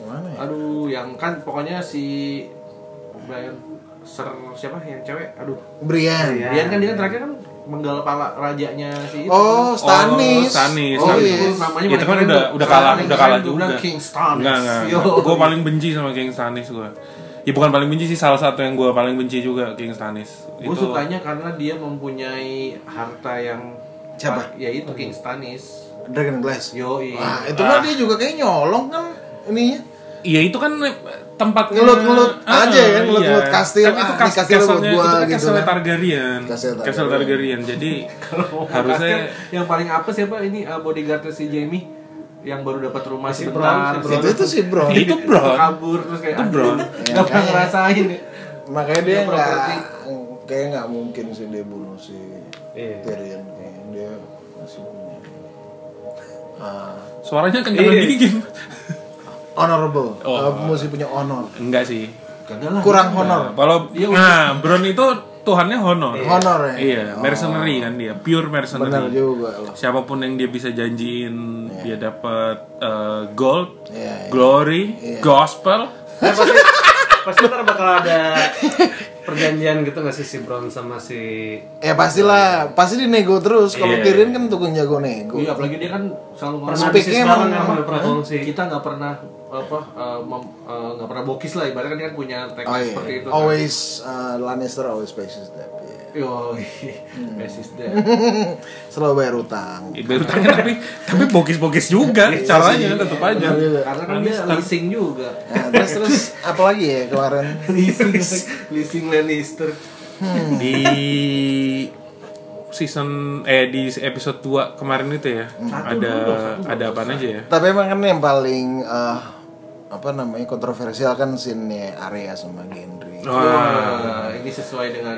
S3: Yang mana ya?
S2: Aduh, yang kan pokoknya si Brian Ser siapa yang cewek? Aduh.
S3: Brian.
S1: Ya. Iya,
S2: Brian kan dia kan terakhir kan menggal pala rajanya si itu.
S3: Oh,
S1: Oh,
S3: Stanis.
S1: Stanis.
S3: Oh,
S1: Stanis.
S3: iya.
S2: namanya
S1: Ya, itu kan
S2: paling
S1: udah
S2: keren
S1: udah
S2: tuh.
S1: kalah,
S2: Paling
S1: udah kalah
S2: keren tuh
S1: juga.
S2: bilang King Stanis.
S1: Enggak, enggak.
S2: Yo.
S1: Gue paling benci sama King Stanis gue. Ya bukan paling benci sih, salah satu yang gue paling benci juga King Stanis.
S2: Gue sukanya karena dia mempunyai harta yang
S3: Siapa?
S2: Ya itu King Stanis.
S3: Dragon Glass.
S2: Yoi.
S3: Wah, itu
S1: Ah.
S3: mah dia juga kayak nyolong kan ininya.
S1: Iya itu kan tempat
S3: Ngelut-ngelut aja ya, ngelut-ngelut kastil.
S1: Kan itu
S3: Ah,
S1: kas
S3: ini kastil
S1: kastelnya-
S3: buat gua
S1: itu kan
S3: gitu
S1: kastelnya
S3: kan.
S1: Targaryen.
S3: Kastel Targaryen.
S1: Kastel Targaryen.
S3: (laughs)
S1: Jadi harusnya
S2: yang paling apa siapa ini eh, bodyguardnya si Jamie yang baru dapat rumah
S5: Si
S2: sebentar.
S5: Bron, si
S3: Itu tuh sih, Bro.
S1: itu bro.
S2: kabur terus kayak
S1: Itu
S2: (laughs)
S1: Bron.
S2: Gak pernah
S3: Iya.
S2: ngerasain ya.
S3: Makanya dia
S2: Dia
S3: nggak
S2: properti.
S3: kayak nggak mungkin sih dia bunuh si
S5: Iya.
S3: Tyrion kayaknya. Dia masih punya. Ah,
S1: Suaranya kan kenceng
S3: Iya.
S1: dingin.
S3: honorable.
S1: Oh.
S3: Ah, mesti punya honor.
S1: Enggak sih.
S2: Kagak lah.
S3: Kurang honor.
S1: Nah, Kalau
S3: Iya,
S1: nah, Bron itu tuhannya honor.
S3: Honor ya.
S1: Iya, mercenary kan dia, pure mercenary.
S3: Benar juga loh.
S1: Siapapun yang dia bisa janjiin dia dapat eh, gold,
S3: Iya, iya.
S1: glory, gospel.
S5: Eh, pasti pasti ntar bakal
S1: (laughs)
S5: ada perjanjian gitu nggak sih si Brown sama si
S3: Ya pastilah, pasti dinego terus.
S1: Iya.
S3: Kalau Tyrion kan tukang jago nego.
S2: Iya, apalagi dia kan selalu ngomong
S3: Speak-nya
S5: Speaknya
S3: emang-
S5: emang nggak pernah kongsi.
S2: kita nggak pernah apa eh, mem- eh, nggak pernah bokis lah ibaratnya kan dia kan punya teknik
S3: Oh iya.
S2: seperti itu. kan.
S3: Always uh, Lannister always pays his debt. iya.
S2: Yoi.
S3: Hmm.
S2: Basis deh.
S3: Selalu bayar utang.
S1: Baru tanya tapi tapi bokis-bokis juga
S3: Iya,
S1: caranya tetap aja.
S3: Benar juga.
S2: Karena kan dia leasing juga. (laughs)
S3: Nah, terus terus apa lagi ya kemarin?
S2: leasing leasing Lannister.
S3: Hmm.
S1: Di season eh di episode 2 kemarin itu ya.
S3: Hmm.
S1: Ada ada apa aja ya?
S3: Tapi emang kan yang paling eh, apa namanya kontroversial kan scene Arya sama Gendry.
S2: Oh,
S1: Wah,
S2: Wah, ini sesuai dengan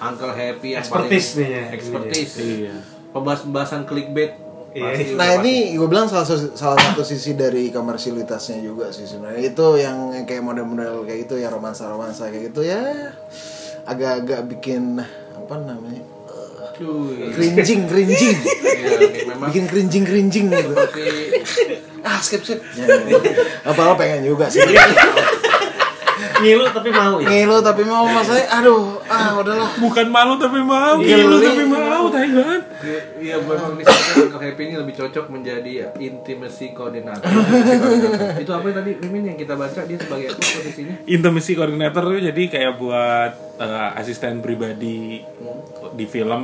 S2: Uncle Happy yang
S5: Iya. Expertise
S2: paling-
S5: nih ya.
S2: Expertise.
S1: Iya.
S2: Pembahasan-pembahasan clickbait.
S5: Iya.
S2: Pasti
S3: Nah
S2: udah
S3: ini gue bilang salah, satu- salah satu sisi dari komersialitasnya juga sih sebenarnya itu yang yang kayak model-model kayak gitu ya romansa-romansa kayak gitu ya agak-agak bikin apa namanya
S2: pasti. Cuy.
S3: cringing cringing
S2: Iya, ini memang
S3: bikin cringing cringing gitu
S2: si-
S3: ah skip skip ya, ya. apa lo pengen juga sih
S5: ngilu tapi mau ya.
S3: ngilu tapi mau masalahnya aduh ah udahlah
S1: Bukan malu tapi mau,
S3: Geli.
S1: gila tapi mau. tahu tai banget.
S2: Iya
S8: Buat penulis itu, Uncle Happy ini lebih cocok menjadi ya, intimacy coordinator. Intimacy coordinator. itu apa yang tadi Mimin yang kita baca dia sebagai apa posisinya?
S1: Intimacy coordinator tuh jadi kayak buat eh, asisten pribadi di film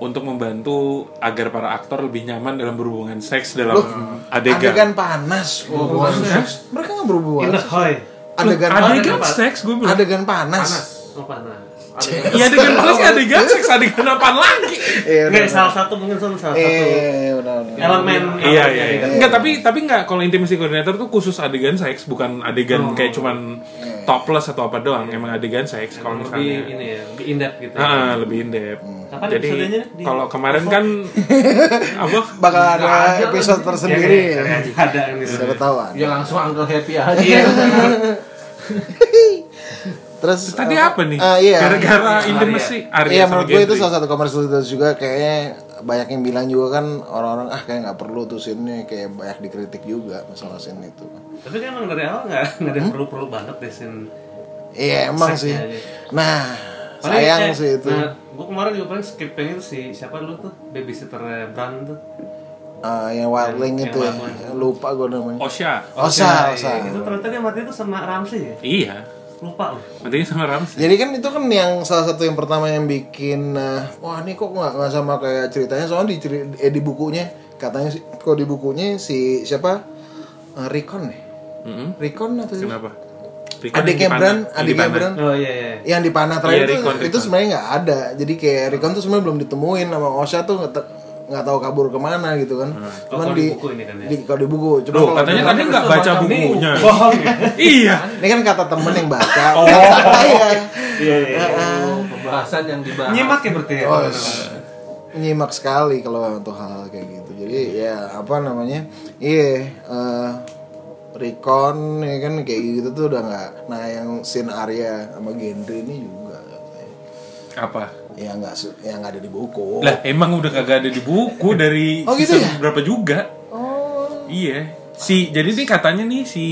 S1: untuk membantu agar para aktor lebih nyaman dalam berhubungan seks dalam
S3: Loh,
S1: adegan.
S3: panas berhubungan seks. Mereka nggak
S1: Iya,
S3: berhubungan.
S5: In the hoy.
S3: Adegan
S1: Adegan
S5: Adegan
S1: seks gue bilang.
S3: adegan panas.
S5: Oh panas.
S1: Iya adegan panas ya adegan seks adegan apaan lagi?
S3: Iya,
S5: Enggak, salah satu mungkin salah satu
S3: Iya, iya, iya, benar, benar.
S5: elemen.
S1: Iya
S5: elemen
S1: iya. iya.
S5: adegan.
S1: Enggak tapi tapi enggak kalau intimacy coordinator tuh khusus adegan seks bukan
S5: Oh.
S1: adegan kayak cuman topless atau apa doang emang adegan seks kalau
S5: Lebih
S1: misalnya.
S5: ini ya, lebih in depth gitu.
S1: Ah, ah, lebih in depth.
S5: Kapan
S1: Jadi
S5: episodenya nih? Di-
S1: kalau kemarin kan apa
S3: Bakal ada
S5: Nggak ada
S3: episode
S5: lagi.
S3: tersendiri.
S1: iya.
S5: Ya, kayak- kayak ada ini.
S3: Siapa tahu ada.
S8: Ya langsung Uncle Happy aja.
S3: Iya. Terus
S1: Tadi
S3: eh,
S1: apa nih?
S3: eh, iya.
S1: Gara-gara intimacy Arya
S3: Iya
S1: sama
S3: menurut gue itu
S1: Gendry.
S3: salah satu komersialitas juga kayaknya banyak yang bilang juga kan orang-orang ah kayak nggak perlu tuh scene-nya kayak banyak dikritik juga masalah scene itu.
S5: Tapi kan emang dari awal nggak nggak ada perlu-perlu banget deh scene.
S3: Iya emang sih.
S5: Seksnya aja.
S3: Nah
S5: Paling,
S3: sayang
S5: eh,
S3: sih itu.
S5: Nah, gue kemarin juga paling skip pengen si siapa dulu tuh babysitter Bran tuh.
S3: Eh, yang wildling
S5: yang
S3: itu ya.
S5: wildling.
S3: Lupa gue namanya.
S1: Osha.
S3: Osa,
S5: Osa. iya,
S3: Osa.
S5: Nah, Itu ternyata dia mati tuh sama Ramsey ya.
S1: Iya.
S5: Lupa loh.
S1: Matinya sama Ramsey.
S3: Jadi kan itu kan yang salah satu yang pertama yang bikin eh, wah ini kok nggak nggak sama kayak ceritanya soalnya di ceri- eh, di bukunya katanya sih kok di bukunya si siapa Eh, Rikon nih
S1: Mm-mm.
S3: Rikon atau siapa?
S1: Kenapa? Rikon yang
S3: adiknya
S1: dipanah.
S3: Bran
S1: Yang
S3: adiknya
S1: dipanah.
S3: Bran
S5: Oh iya iya.
S3: yang di Panatra
S1: Iya,
S3: itu
S1: Rikon,
S3: itu
S1: Rikon.
S3: sebenarnya nggak ada jadi kayak Rikon tuh sebenarnya belum ditemuin sama Osha tuh nggak te- nggak tahu kabur kemana gitu kan
S5: Oh, kalau di buku ini kan ya?
S3: di kalau di buku
S1: Hmm.
S3: cuma
S1: Loh,
S3: kalau
S1: katanya
S3: di-
S1: tadi nggak baca bukunya. (laughs) iya.
S3: ini kan kata temen yang baca
S1: Oh.
S3: kata saya
S5: Iya iya.
S8: Pembahasan yang dibahas.
S5: Nyimak ya berarti ya.
S3: Oh, nyimak sekali kalau untuk hal kayak gitu jadi ya apa namanya iya eh, Rikon ya kan kayak gitu tuh udah nggak nah yang scene Arya sama Gendry ini juga
S1: Apa?
S3: ya nggak su- ya nggak ada di buku
S1: Lah, emang udah kagak ada di buku dari
S3: Oh, gitu
S1: season
S3: ya?
S1: berapa juga?
S3: oh Hmm.
S1: Iya. Si jadi nih katanya nih si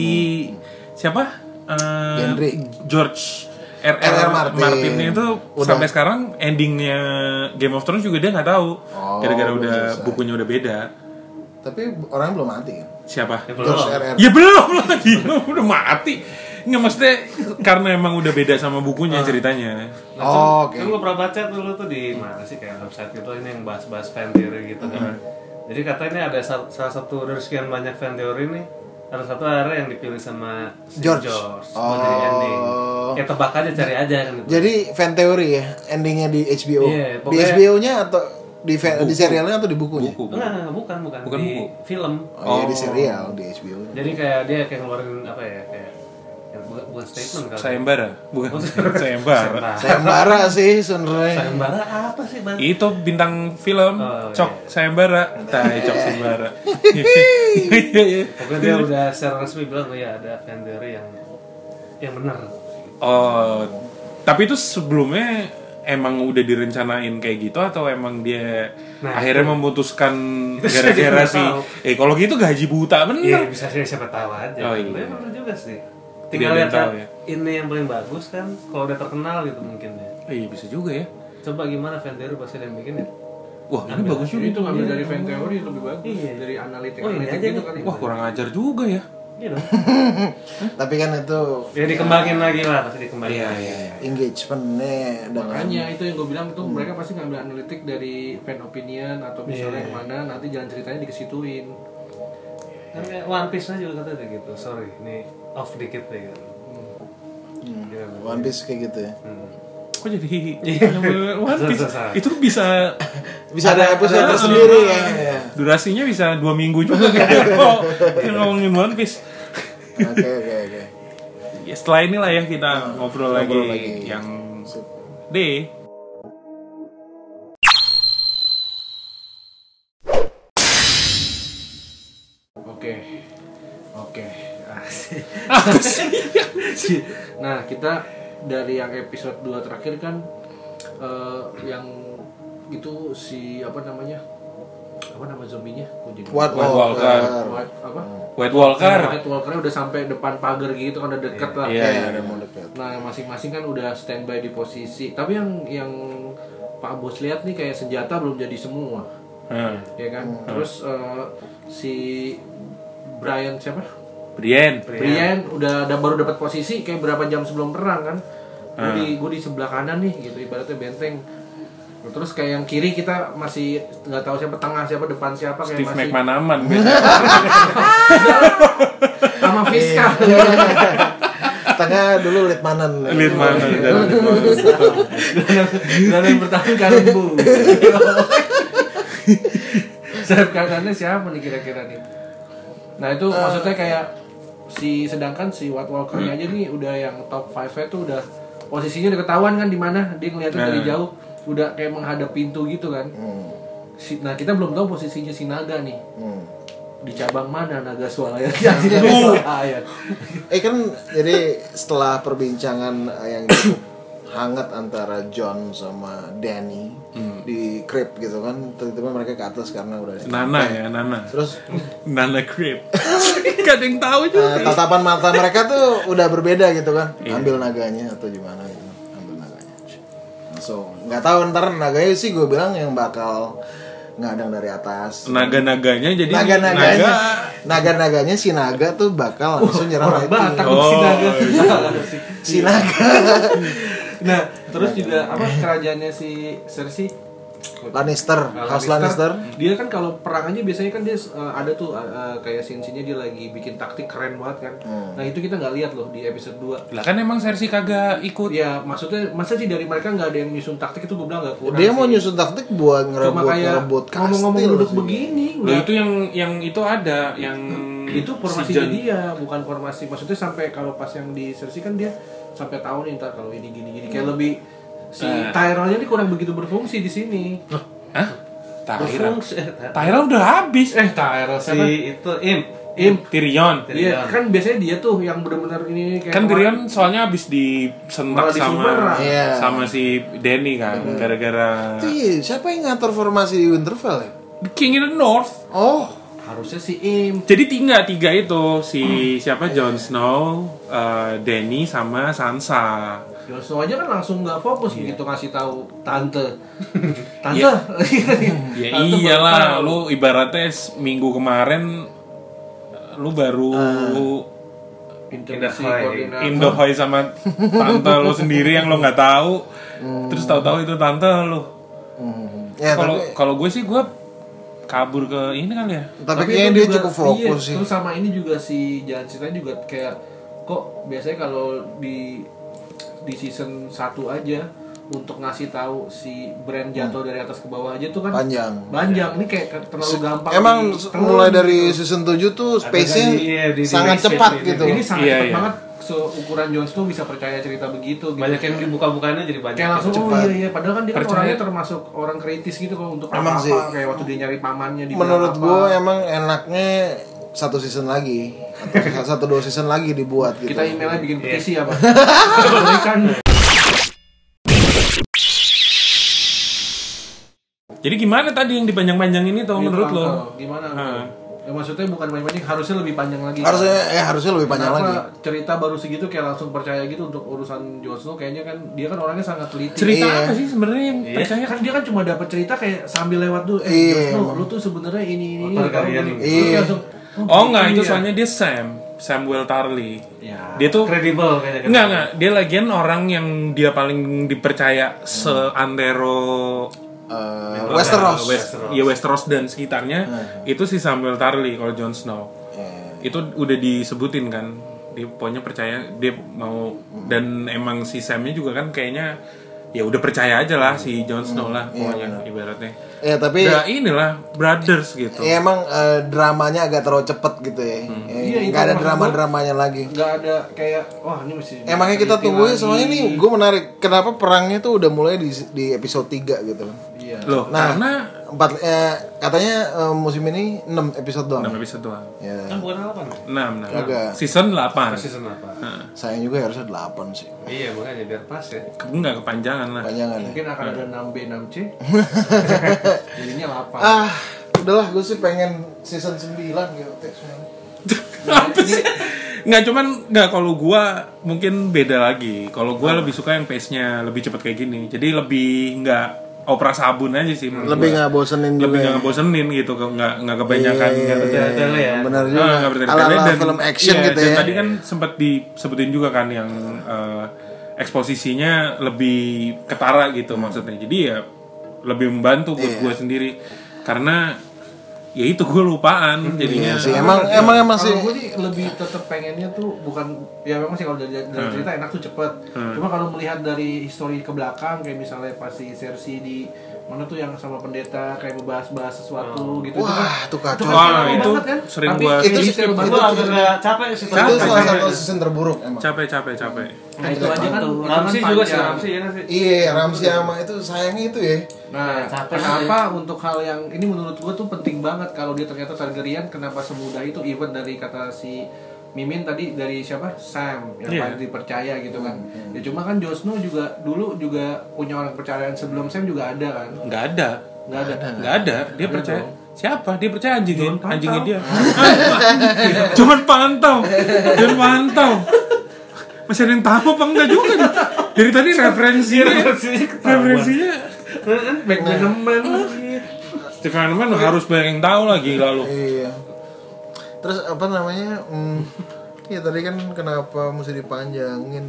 S1: siapa? Eh,
S3: Gendry.
S1: George R.R.
S3: R.R.
S1: Martin.
S3: Martin.
S1: itu
S3: Udah.
S1: sampai sekarang endingnya Game of Thrones juga dia nggak tahu
S3: Oh,
S1: gara-gara
S3: belum
S1: udah
S3: selesai.
S1: bukunya udah beda
S3: tapi orangnya belum mati kan
S1: siapa
S5: Ya, belum.
S3: George RR
S1: ya belum lagi (laughs) udah mati nggak maksudnya karena emang udah beda sama bukunya ceritanya
S3: Oh, oke.
S5: Kan gue pernah baca dulu tuh di mana sih kayak website gitu ini yang bahas-bahas fan theory gitu kan. Jadi katanya ini ada sa- salah satu dari sekian banyak fan theory nih ada satu akhirnya yang dipilih sama si
S3: George.
S5: buat jadi
S3: Oh.
S5: ending. Ya tebak aja cari aja kan gitu.
S3: jadi fan theory ya endingnya di HBO
S5: Iya,
S3: di
S5: pokoknya-
S3: HBO nya atau di fan, di serialnya atau di bukunya
S1: buku
S5: Enggak, enggak, bukan, bukan,
S1: Bukan
S5: di
S1: buku.
S5: film.
S3: oh, iya di serial di HBO -nya.
S5: Jadi kayak dia kayak ngeluarin apa ya kayak ya, bukan, bukan statement kalau
S1: sayembara bukan (laughs) sayembara
S3: sayembara sih sebenarnya
S5: Sayembara apa sih bang?
S1: itu bintang film
S5: Oh,
S1: cok
S5: iya.
S1: sayembara tai cok
S5: (laughs)
S1: sayembara
S5: Pokoknya dia udah secara resmi bilang oh ya ada fan theory yang yang benar.
S1: oh tapi itu sebelumnya emang udah direncanain kayak gitu atau emang dia
S5: Nah,
S1: akhirnya memutuskan
S5: (laughs) Itu sih
S1: gara-gara
S5: dia
S1: sih
S5: tahu.
S1: eh kalau gitu gaji buta
S5: Iya
S1: bener
S5: bisa sih siapa tahu aja.
S1: Oh,
S5: Tapi
S1: iya.
S5: benar juga sih.
S1: Tidak
S5: Tinggal
S1: ada
S5: lihat
S1: yang tahu,
S5: kan,
S1: ya.
S5: ini yang paling bagus kan kalau udah terkenal gitu mungkin ya.
S1: Oh, iya bisa juga ya
S5: Coba gimana fan theory pasti ada yang bikin ya?
S1: wah ini bagus juga
S2: Jadi itu ngambil dari fan theory lebih bagus dari analitik
S5: Iya. Oh, ini
S2: analitik
S5: aja
S2: gitu
S5: nih.
S2: kali.
S1: Iya. wah kurang ajar juga ya
S5: Gitu.
S3: tapi kan itu
S5: ya dikembangin lagi lah pasti dikembangin. Iya iya.
S3: engagementnya dengan
S2: Makanya itu yang gue bilang tuh mereka pasti ngambil analitik dari fan opinion atau
S1: Iya.
S2: misalnya yang mana nanti jalan ceritanya dikesituin.
S5: Kan kayak One Piece aja juga katanya gitu. Sorry, ini off dikit deh gitu.
S3: One Piece kayak gitu ya
S1: kok jadi
S5: Iya.
S1: (laughs) One Piece? itu bisa
S5: (laughs)
S3: bisa ada episode tersendiri ya Iya.
S1: durasinya bisa dua minggu juga kayak oh, kita ngomongin One Piece
S3: oke oke oke
S1: ya, setelah inilah ya kita ngobrol, lagi,
S3: ngobrol lagi.
S1: yang
S3: Sip.
S1: D
S2: Oke. Oke.
S1: (laughs)
S2: Asik. nah, kita dari yang episode 2 terakhir kan eh, yang itu si apa namanya? Apa nama zombinya? Kok jadi-
S3: White
S1: White
S3: Walker
S1: Walker.
S2: White apa?
S1: White Walker
S2: White Walker udah sampai depan pagar gitu kan udah deket lah.
S1: Iya,
S3: ya ada mau dekat
S2: Nah, masing-masing kan udah standby di posisi. Tapi yang yang Pak Bos lihat nih kayak senjata belum jadi semua,
S1: Hmm.
S2: ya kan? Terus eh, si Brian siapa?
S1: Brian.
S2: Brian udah ada baru dapat posisi kayak berapa jam sebelum perang kan? Gue di
S1: Hmm.
S2: gua di sebelah kanan nih gitu ibaratnya benteng. Terus kayak yang kiri kita masih nggak tahu siapa tengah siapa depan siapa kayak
S1: Steve
S2: masih
S1: McManaman.
S2: sama
S1: (laughs)
S2: Fiska.
S1: Iya,
S3: Tengah dulu Litmanen.
S1: Lihat mana.
S2: Dan yang bertahan
S3: (laughs)
S2: kanan bu. Sayap kanannya siapa nih kira-kira nih? Nah
S3: Eh.
S2: itu maksudnya kayak si sedangkan si White Walker aja nih udah yang top 5 nya tuh udah posisinya udah ketahuan kan di mana dia ngeliatnya
S3: Eh.
S2: dari
S1: Nah.
S2: jauh udah kayak menghadap pintu gitu kan.
S3: Hmm,
S2: Si- nah kita belum tahu posisinya si naga nih di cabang mana naga
S3: (laughs)
S2: swalaya Jadi naga swalaya
S3: Eh kan jadi setelah perbincangan eh, yang (coughs) cukup hangat antara John sama Danny di crib gitu kan tiba-tiba mereka ke atas karena udah ada
S1: Nana ya, Nana.
S3: terus
S1: Nana Crip. Gak ada yang tahu juga.
S3: eh, tatapan mata mereka tuh udah berbeda gitu kan ambil naganya atau gimana gitu ambil naganya langsung nggak tahu ntar naganya sih gue bilang yang bakal ngadang dari atas
S1: Naga-naganya Nah, jadi
S3: naga-naganya
S1: naga.
S3: naga-naganya si naga tuh bakal langsung nyerang
S2: orang
S3: lagi.
S2: Batak
S1: Oh,
S2: si naga
S3: iya.
S2: (laughs)
S3: si naga
S2: nah terus juga apa kerajaannya si Cersei
S3: Lannister House Lannister
S2: Nah, dia kan kalau perang aja biasanya kan dia uh, ada tuh uh, uh, kayak scene-nya dia lagi bikin taktik keren banget kan
S3: Hmm.
S2: nah itu kita nggak lihat loh di episode 2
S1: Lah kan emang Cersei kagak ikut.
S2: ya maksudnya masa sih dari mereka nggak ada yang nyusun taktik itu gue bilang nggak kurang
S3: dia mau
S2: sih.
S3: nyusun taktik buat
S2: cuma
S3: ngerebut
S2: kayak
S3: ngerebut
S2: ngomong-ngomong
S3: kastil
S2: duduk
S3: sih.
S2: begini
S1: Lah
S2: nggak
S1: itu yang yang itu ada yang
S2: Iya. itu formasi
S1: Nah, si Jon-
S2: dia bukan formasi maksudnya sampai kalau pas yang di Cersei kan dia sampai tahu nih ntar kalau ini gini gini kayak lebih si
S1: Eh.
S2: Tyrell-nya ini kurang begitu berfungsi di sini
S1: Hah? Tyrell.
S2: berfungsi eh,
S1: Tyrell udah habis. Eh,
S5: Tyrell si itu Im.
S2: Im
S1: Tyrion.
S2: Iya, kan biasanya dia tuh yang benar-benar ini kayak
S1: Kan Tyrion soalnya habis disentak
S2: Malah
S1: sama
S2: disemprot.
S3: Iya.
S1: sama si Danny kan gara-gara
S3: Itu iya, siapa yang ngatur formasi di Winterfell ya
S1: The King in the North.
S3: oh
S2: harusnya si Im
S1: Jadi tiga tiga itu si siapa Jon Snow, eh, Danny sama Sansa.
S2: Jon Snow aja kan langsung nggak fokus
S1: Iya.
S2: begitu ngasih tahu
S1: (laughs)
S2: tante tante (laughs) Iya.
S1: Ya
S2: Tante baru
S1: iyalah,
S2: tahu.
S1: lu ibaratnya s- minggu kemarin eh, lu baru
S2: intervensi
S5: Indah, hai.
S2: koordinator
S1: indohoy sama tante lu sendiri yang lu nggak tahu. Terus tahu-tahu itu tante lu.
S3: Hmm. ya
S1: Kalau
S3: tapi
S1: kalau gue sih gue kabur ke ini kali ya.
S2: itu
S3: tapi kayaknya dia
S2: juga-
S3: cukup fokus
S2: iya,
S3: sih
S2: Terus sama ini juga si jalan ceritanya juga kayak kok biasanya kalau di di season 1 aja untuk ngasih tahu si brand jatuh dari atas ke bawah aja tuh kan
S3: Hmm. Panjang.
S2: Panjang. Ini kayak ke- terlalu gampang.
S3: emang
S2: ditelan
S3: mulai
S2: gitu.
S3: dari season 7 tuh
S5: kan
S3: space-nya
S5: di- iya, di- di
S3: sangat
S5: reshape
S3: cepat
S5: ini.
S3: gitu
S2: ini sangat
S1: Iya,
S2: cepat
S1: iya.
S2: banget seukuran Jon Snow bisa percaya cerita begitu gitu.
S5: Banyak yang dibuka-bukanya jadi banyak.
S2: kayak langsung oh
S3: cepat.
S2: iya iya padahal kan dia kan
S1: Percaya.
S2: orangnya termasuk orang kritis gitu kalau untuk apa-apa
S3: Emang sih.
S2: kayak waktu dia nyari pamannya di
S3: menurut gue emang enaknya satu season lagi atau satu dua season lagi dibuat gitu
S2: kita emailnya
S1: Iya.
S2: bikin petisi
S1: (laughs)
S2: ya, apa Ini kan
S1: Jadi gimana tadi yang dipanjang-panjang ini
S3: Iya,
S1: tuh menurut lo?
S2: Angkel, "Oh, gimana
S1: Heeh.
S2: ya, maksudnya bukan banyak-banyak harusnya lebih panjang lagi
S3: harusnya eh harusnya lebih panjang
S2: Kenapa
S3: lagi
S2: cerita baru segitu kayak langsung percaya gitu untuk urusan Jon Snow kayaknya kan dia kan orangnya sangat teliti
S1: Cerita
S3: Iya.
S1: apa sih sebenarnya yang percaya?
S2: kan dia kan cuma dapat cerita kayak sambil lewat dulu eh
S3: Iya,
S2: Jon Snow,
S3: emang.
S2: lu tuh sebenarnya ini ini ini
S5: Otak
S2: kamu
S5: kalian.
S2: gini.
S3: Iya.
S2: Terus dia langsung,
S1: Oh enggak, itu
S2: iya.
S1: soalnya dia Sam, Samuel Tarly.
S2: Ya.
S1: Dia tuh
S5: kredibel kayaknya.
S1: enggak enggak, dia lagian orang yang dia paling dipercaya seantero
S3: Eh, Westeros Hmm.
S1: West, ya Westeros dan sekitarnya itu si Samuel Tarly kalau Jon Snow.
S3: Eh,
S1: Itu udah disebutin kan. Dia pokoknya percaya dia mau
S3: Hmm.
S1: dan emang si Samnya juga kan kayaknya ya udah percaya aja lah si Jon Snow lah pokoknya ibaratnya.
S3: ya Hmm. Iya, tapi
S1: Ya inilah brothers gitu.
S3: ya emang eh, dramanya agak terlalu cepet gitu ya Eh,
S2: Iya, itu
S3: nggak ada
S2: maksud
S3: drama dramanya lagi
S2: nggak ada kayak wah ini mesti
S3: emangnya kita
S2: teliti
S3: tungguin
S2: lagi.
S3: soalnya nih gue menarik kenapa perangnya tuh udah mulai di, di episode 3 gitu kan
S2: iya
S1: Loh,
S3: Nah.
S1: karena
S3: empat eh, katanya eh, musim ini 6 episode doang
S1: 6 episode doang.
S3: ya
S5: Kan bukan apa nih?
S1: 6, 6.
S3: Agak.
S1: Season 8.
S5: Season apa?
S3: sayang juga harusnya 8 sih
S5: Iya makanya biar pas ya.
S1: Enggak kepanjangan lah.
S3: panjangan ya
S2: mungkin akan ada 6B 6C
S3: (laughs)
S2: jadinya 8
S3: ah udahlah gue sih pengen season 9 gitu Teh, sebenarnya.
S1: Apa sih? Nggak cuman nggak kalau gua mungkin beda lagi. Kalau gua lebih suka yang pace-nya lebih cepat kayak gini. Jadi lebih nggak opera sabun aja sih menurut
S3: lebih
S1: gua.
S3: nggak bosenin juga
S1: lebih
S3: ya.
S1: nggak ngebosenin gitu ke- nggak nggak kebanyakan
S3: Iya,
S1: nggak
S5: iya,
S1: bertele-
S5: Tele ya.
S3: benar
S1: Ah,
S3: juga
S1: nggak bertele-tele.
S3: ala ala
S1: Dan-
S3: film action
S1: iya,
S3: gitu
S1: dan
S3: ya
S1: tadi kan sempat disebutin juga kan yang eh, eksposisinya lebih ketara gitu
S3: Hmm.
S1: maksudnya jadi ya lebih membantu
S3: Iya.
S1: buat gue sendiri karena ya itu gue lupaan jadinya
S3: Hmm, iya sih emang emang emang sih
S2: Kalau gue sih lebih tetap pengennya tuh bukan ya memang sih kalau dari, dari
S5: Hmm.
S2: cerita enak tuh cepet. Cuma kalau melihat dari histori ke belakang kayak misalnya pasti sersi di mana tuh yang sama pendeta kayak membahas-bahas
S5: Hmm.
S2: sesuatu gitu itu kan-
S3: wah tuh kacau
S1: Wah,
S2: keren
S1: itu
S2: banget kan?
S1: sering
S2: Tapi
S1: gua
S2: itu
S3: itu-
S2: detail
S3: itu-
S2: banget.
S5: Gue agak capek sih.
S3: itu salah
S5: Capek.
S3: satu season terburuk emang
S1: capek capek capek
S2: Nah, itu aja kan. itu kan
S5: Ramsey juga sih,
S2: panjang.
S5: Ramsey ya nggak sih.
S3: iya Ramsi sama itu sayangnya itu ya
S2: Nah,
S5: Capek
S2: kenapa untuk hal yang ini menurut gue tuh penting banget kalau dia ternyata Targaryen kenapa semudah itu even dari kata si Mimin tadi dari siapa Sam yang
S1: Iya.
S2: paling dipercaya gitu kan. Ya cuma kan Jon Snow juga dulu juga punya orang kepercayaan sebelum Sam juga ada kan.
S1: (laughs) nggak ada
S2: Nggak ada.
S1: nggak ada dia
S2: Ada
S1: percaya
S2: dong.
S1: siapa dia percaya anjingin
S2: Pantau.
S1: anjingin (laughs) dia cuman pantau cuman pantau masih ada yang tahu apa enggak juga nih? dari tadi referensinya referensinya
S2: Back menemen.
S1: Stephen Hanman harus banyak yang tahu lagi lalu
S3: Iya. Terus apa namanya? Hmm, ya tadi kan kenapa mesti dipanjangin?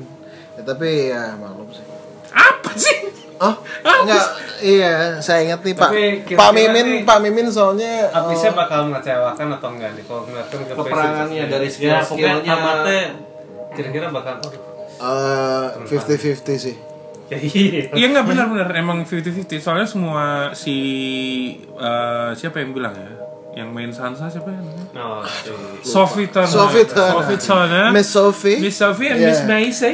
S3: Ya, tapi ya maklum sih.
S1: apa sih
S3: Oh, enggak. Iya, saya ingat nih Pak.
S5: Tapi kira-kira
S3: Pak Mimin,
S5: nih-
S3: Pak Mimin soalnya eh,
S5: Abisnya bakal mengecewakan atau enggak nih kalau ngeliatin ke
S2: Peperangannya
S5: face-nya.
S2: dari
S5: Ya, pokoknya
S2: skill-skillnya.
S5: tamatnya kira-kira bakal aduh,
S3: eh, 50-50 sih.
S5: ya iya.
S1: Iya nggak benar-benar emang 50-50 soalnya semua si eh, siapa yang bilang ya yang main Sansa siapa ya namanya?
S5: Oh, cuy.
S1: Sophie Turner
S3: Sophie Turner.
S1: Sophie Turner.
S3: Miss Sophie,
S1: Miss Sophie and
S3: Iya.
S1: Miss
S3: (laughs)
S1: Maisy
S5: Ismail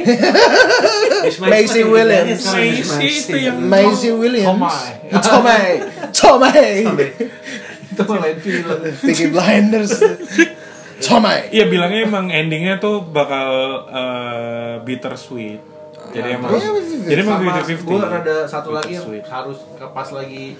S3: Maisie
S5: Ismail
S3: Williams.
S5: Ismail Ismail.
S1: Maisy itu yang
S3: Maisie Williams,
S2: Tomai.
S3: Tomai, Tomai,
S2: (laughs) Itu mah lain film.
S3: Peaky
S1: (laughs)
S3: Blinders, Tomai.
S1: Iya bilangnya emang endingnya tuh bakal eh, bittersweet. Jadi emang
S3: terus?
S1: jadi emang ya?
S2: Sama
S1: fifty
S2: gue ada satu lagi yang
S1: Bittersweet.
S2: harus ke- pas lagi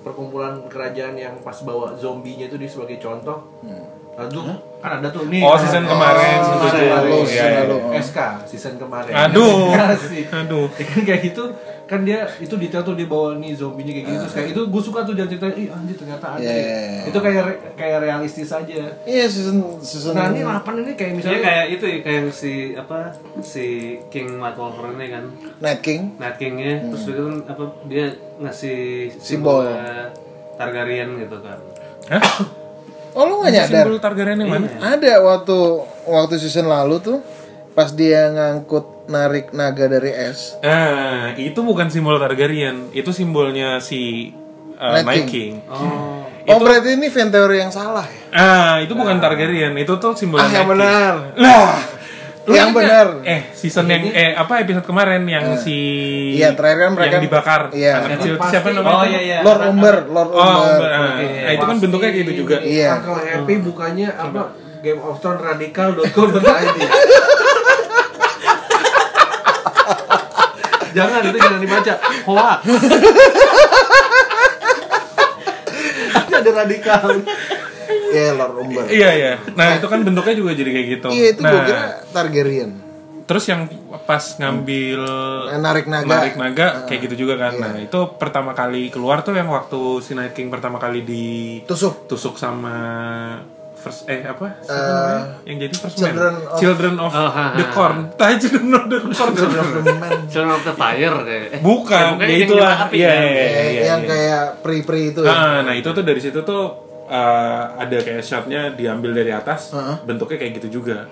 S2: perkumpulan kerajaan yang pas bawa zombinya itu di sebagai contoh.
S3: Hmm.
S2: Aduh, kan ada tuh nih.
S1: Oh, season kemarin,
S2: season
S1: season
S2: kemarin.
S1: lalu,
S2: Iya,
S1: season
S2: iya.
S3: lalu, oh.
S2: SK season kemarin. (laughs)
S1: Aduh.
S3: Iya
S2: Kasih.
S1: Aduh.
S2: Ya kan kayak gitu kan dia itu detail tuh dia bawa nih zombinya kayak gitu terus kayak itu gue suka tuh dari ceritanya ih anjir ternyata ada ya."
S3: Ah. Yeah.
S2: itu kayak re- kayak realistis aja
S3: Iya season season.
S2: nah ini 8 ini kayak
S5: Jadi
S2: misalnya
S5: kayak itu ya, kayak si apa si King Matt Wolver ini kan
S3: Night King.
S5: Night Kingnya terus dia kan apa dia ngasih
S3: Simbol.
S5: Targaryen gitu kan.
S1: Hah?
S3: Oh lu nggak nyadar?
S1: Simbol Targaryen yang mana?
S3: Ada waktu waktu season lalu tuh pas dia ngangkut narik naga dari es.
S1: Ah, itu bukan simbol Targaryen, itu simbolnya si eh,
S3: Night
S1: Night
S3: King.
S1: King.
S5: Oh,
S3: Oh berarti ini fan teori yang salah ya?
S1: Ah, itu bukan Targaryen, itu tuh simbol
S3: Ah yang
S1: Night King.
S3: benar.
S1: Lah, lu
S3: Yang
S1: ingat?
S3: benar.
S1: Eh, season yang eh apa episode kemarin yang si
S3: Iya, terakhir kan mereka-
S1: yang dibakar
S3: Iya.
S1: anak kecil
S2: Pasti.
S1: siapa namanya?
S5: oh
S1: tuh?
S5: iya iya.
S3: Lord Umber, Lord
S1: Oh,
S3: Umber.
S1: Umber, ah.
S2: Iya.
S1: Nah, itu kan bentuknya kayak gitu juga.
S3: Iya.
S2: Uncle Happy bukannya apa Game of Thrones radikal.com.id
S1: (laughs)
S2: jangan itu jangan dibaca
S1: (laughs)
S2: hoax Itu ada radikal
S3: Iya Lord Umber.
S1: Iya iya. Nah itu kan bentuknya juga jadi kayak gitu.
S3: Iya itu
S1: nah,
S3: gue kira Targaryen.
S1: terus yang pas ngambil
S3: Eh, Narik naga. Ah, iya.
S1: narik naga kayak gitu juga kan. Nah itu pertama kali keluar tuh yang waktu si Night King pertama kali ditusuk (laughs)
S3: Tusuk.
S1: sama first eh apa? Siapa
S3: Eh,
S1: namanya? yang jadi first man.
S3: Children of-
S1: Children of
S5: Oh, ha, ha,
S1: the
S5: ha.
S1: Corn. (laughs) Tah, Children of the Corn.
S3: Children of the Man.
S5: Children of the Fire deh. Eh,
S1: Bukan,
S5: bukan
S1: ya
S5: yang
S1: itulah.
S5: nyala api
S1: Iya
S5: kan?
S1: iya
S3: Eh,
S1: iya.
S3: yang
S1: iya.
S3: kayak pri-pri itu ya.
S1: Ah, nah itu tuh dari situ tuh eh, ada kayak shotnya diambil dari atas,
S3: Heeh.
S1: bentuknya kayak gitu juga.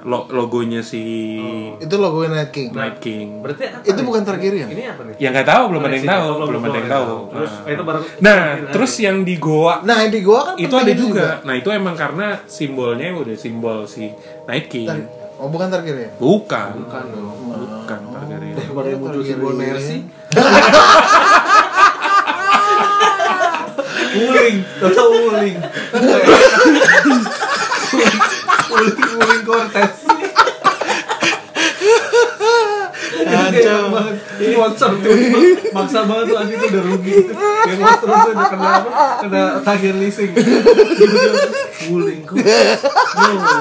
S1: Lo- logonya si
S5: Oh.
S3: Itu logo Night King.
S1: Night King.
S5: Berarti apa?
S1: Nah,
S3: Itu
S5: nih?
S3: bukan Targaryen.
S5: Ini apa nih?
S1: Ya nggak tahu, belum ada yang
S5: Koleksinya.
S1: tahu,
S5: Oh,
S1: belum ada yang tahu.
S5: Terus eh,
S1: Nah.
S5: itu baru
S1: Nah, terus yang di Goa
S3: Nah yang di gua kan
S1: itu
S3: penting
S1: ada juga. Nah itu emang karena simbolnya udah simbol si Night King.
S3: Oh bukan Targaryen.
S1: Bukan,
S2: bukan dong Oh.
S1: bukan Targaryen.
S2: daripada
S5: Iya,
S2: yang muncul si Boner sih
S5: (laughs) uling, tahu uling.
S2: Uling Cortez Kacau banget. Ini monster tuh Maksa banget tuh Asli tuh udah rugi Yang monster tuh udah kena apa Kena tagir leasing Guling kok No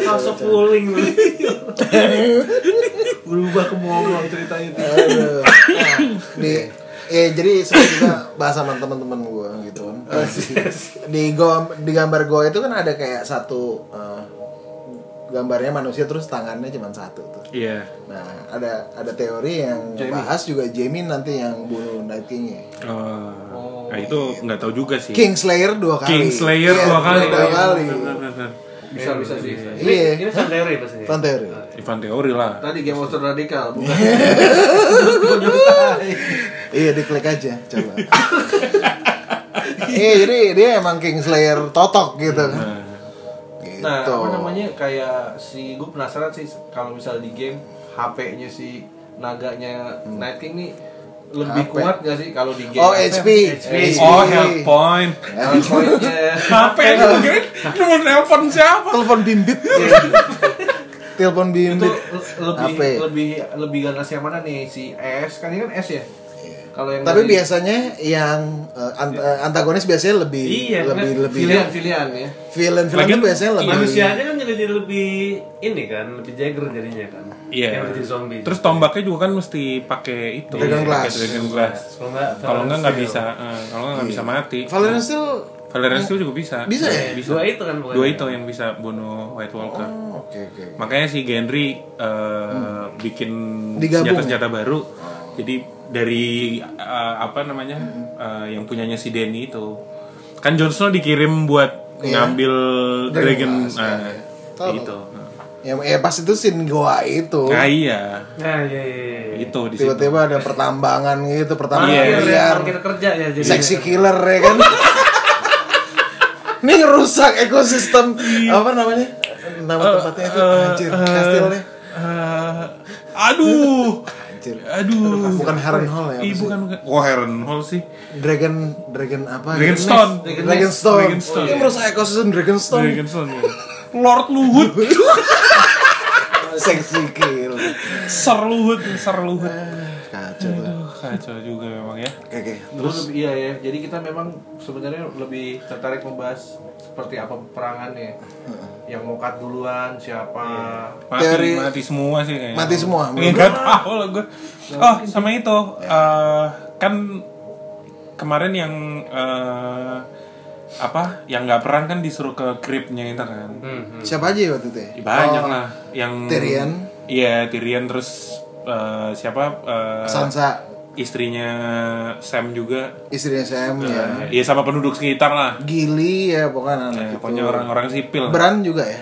S5: Masuk pooling lu. Berubah ke mongol ceritanya tuh.
S3: Aduh. Nah, di ya jadi saya juga bahas sama teman-teman gue gitu kan. Di gom, di gambar gue itu kan ada kayak satu eh, gambarnya manusia terus tangannya cuma satu tuh.
S1: Iya.
S3: Nah, ada ada teori yang bahas juga Jamie nanti yang bunuh Night King-nya.
S1: Oh. Nah, itu nggak tahu juga sih.
S3: Kingslayer dua kali.
S1: Kingslayer
S3: Iya,
S1: dua kali. Nah,
S3: Dua kali.
S1: Benar, benar, benar.
S9: Bisa bisa sih.
S5: Ini,
S3: Iya.
S5: ini fan teori pastinya.
S3: Fan teori.
S1: Ivan teori lah.
S2: Tadi Game of Thrones
S3: (laughs)
S2: radikal, bukan?
S3: Iya, diklik aja coba. (laughs) Iya, jadi dia emang Kingslayer totok gitu kan.
S1: Nah,
S3: Gitu.
S2: Nah, apa namanya kayak si gue penasaran sih kalau misal di game HP-nya si naganya Night King nih lebih
S3: HP.
S2: kuat gak sih kalau di game?
S3: Hmm. Oh, HP.
S1: Oh, help point. ya,
S2: Poinnya
S1: HP itu
S3: (laughs)
S1: kira nomor telepon siapa?
S3: telepon bimbit (laughs) telepon
S2: itu
S3: bimbit
S2: le- lebih
S3: HP.
S2: lebih lebih ganas yang mana nih si S kan ini kan S ya? Kalau yang
S3: Iya. tapi
S2: dari-
S3: biasanya yang eh, ant- eh, antagonis biasanya lebih
S5: Iya,
S3: lebih
S5: kan?
S3: lebih
S2: pilihan pilihan ya.
S3: villain villain
S1: Lagian
S3: tuh biasanya lebih
S5: Manusianya kan jadi, jadi lebih ini kan, lebih jagger jadinya kan.
S1: Iya.
S5: Yang jadi zombie.
S1: Terus tombaknya juga kan mesti pakai itu. Iya,
S3: Dragon
S1: pakai
S3: glass. Iya.
S1: Dragon glass.
S5: kalau enggak
S1: Kalau nggak nggak bisa, eh, kalau nggak nggak bisa mati.
S3: Valerian Steel
S1: Valerian Steel juga bisa.
S3: Bisa ya?
S1: Bisa.
S5: Dua itu kan pokoknya.
S1: Dua itu yang bisa bunuh White Walker.
S3: Oh, oke oke
S1: Makanya si Gendry eh, bikin
S3: Hmm. Digabung Oh.
S1: senjata-senjata baru. Jadi dari eh, apa namanya
S3: Hmm.
S1: eh, yang punyanya si Denny itu, kan Jon Snow dikirim buat
S3: Iya.
S1: ngambil
S3: Dragon
S1: Dragon,
S3: Glass,
S1: nah,
S3: iya, iya. Tahu, Oh.
S1: itu.
S3: ya eh, pas itu sin goa itu
S1: Nah iya,
S5: Nah, iya iya iya.
S1: itu di situ.
S3: tiba-tiba ada pertambangan gitu
S5: Ah,
S3: pertambangan
S1: Iya.
S3: liar
S5: Markir kerja ya jadi.
S3: seksi killer ya kan ini ngerusak ekosistem apa namanya nama tempatnya itu anjir kastilnya
S1: Eh, aduh,
S3: anjir
S1: aduh.
S3: bukan Heron Hall ya apa
S1: Ih,
S3: sih?
S1: bukan bukan. Wah, Heron Hall sih.
S3: Dragon Dragon apa?
S1: Dragon Stone.
S3: Dragon, Dragon Stone.
S1: Dragon Stone.
S3: Ini merusak ekosistem Dragon Stone.
S1: Dragon Stone. ya. Lord Luhut,
S3: Seksi kill.
S1: Ser Luhut, Ser Luhut.
S3: Eh. Kacau tuh.
S1: Aduh, kacau juga memang ya.
S3: Oke, oke.
S2: Terus lebih- iya ya. Jadi kita memang sebenarnya lebih tertarik membahas seperti apa peperangannya. Yang mau cut duluan siapa?
S1: Mati,
S3: Teori-
S1: mati semua sih kayaknya.
S3: Mati semua?
S1: (laughs)
S3: Ya,
S1: Enggak tahu lah gue. Oh, sama itu eh, kan kemarin yang eh, apa? Yang nggak perang kan disuruh ke kripnya itu kan.
S3: Siapa aja waktu itu ya?
S1: Banyak
S3: Oh,
S1: lah yang
S3: Tyrion.
S1: Iya, Tyrion terus eh, siapa? eh,
S3: Sansa,
S1: istrinya Sam juga.
S3: istrinya Sam ya.
S1: Eh, Iya sama penduduk sekitar lah.
S3: Gili ya pokoknya anak
S1: Ya,
S3: itu.
S1: pokoknya orang-orang sipil.
S3: Bran juga ya?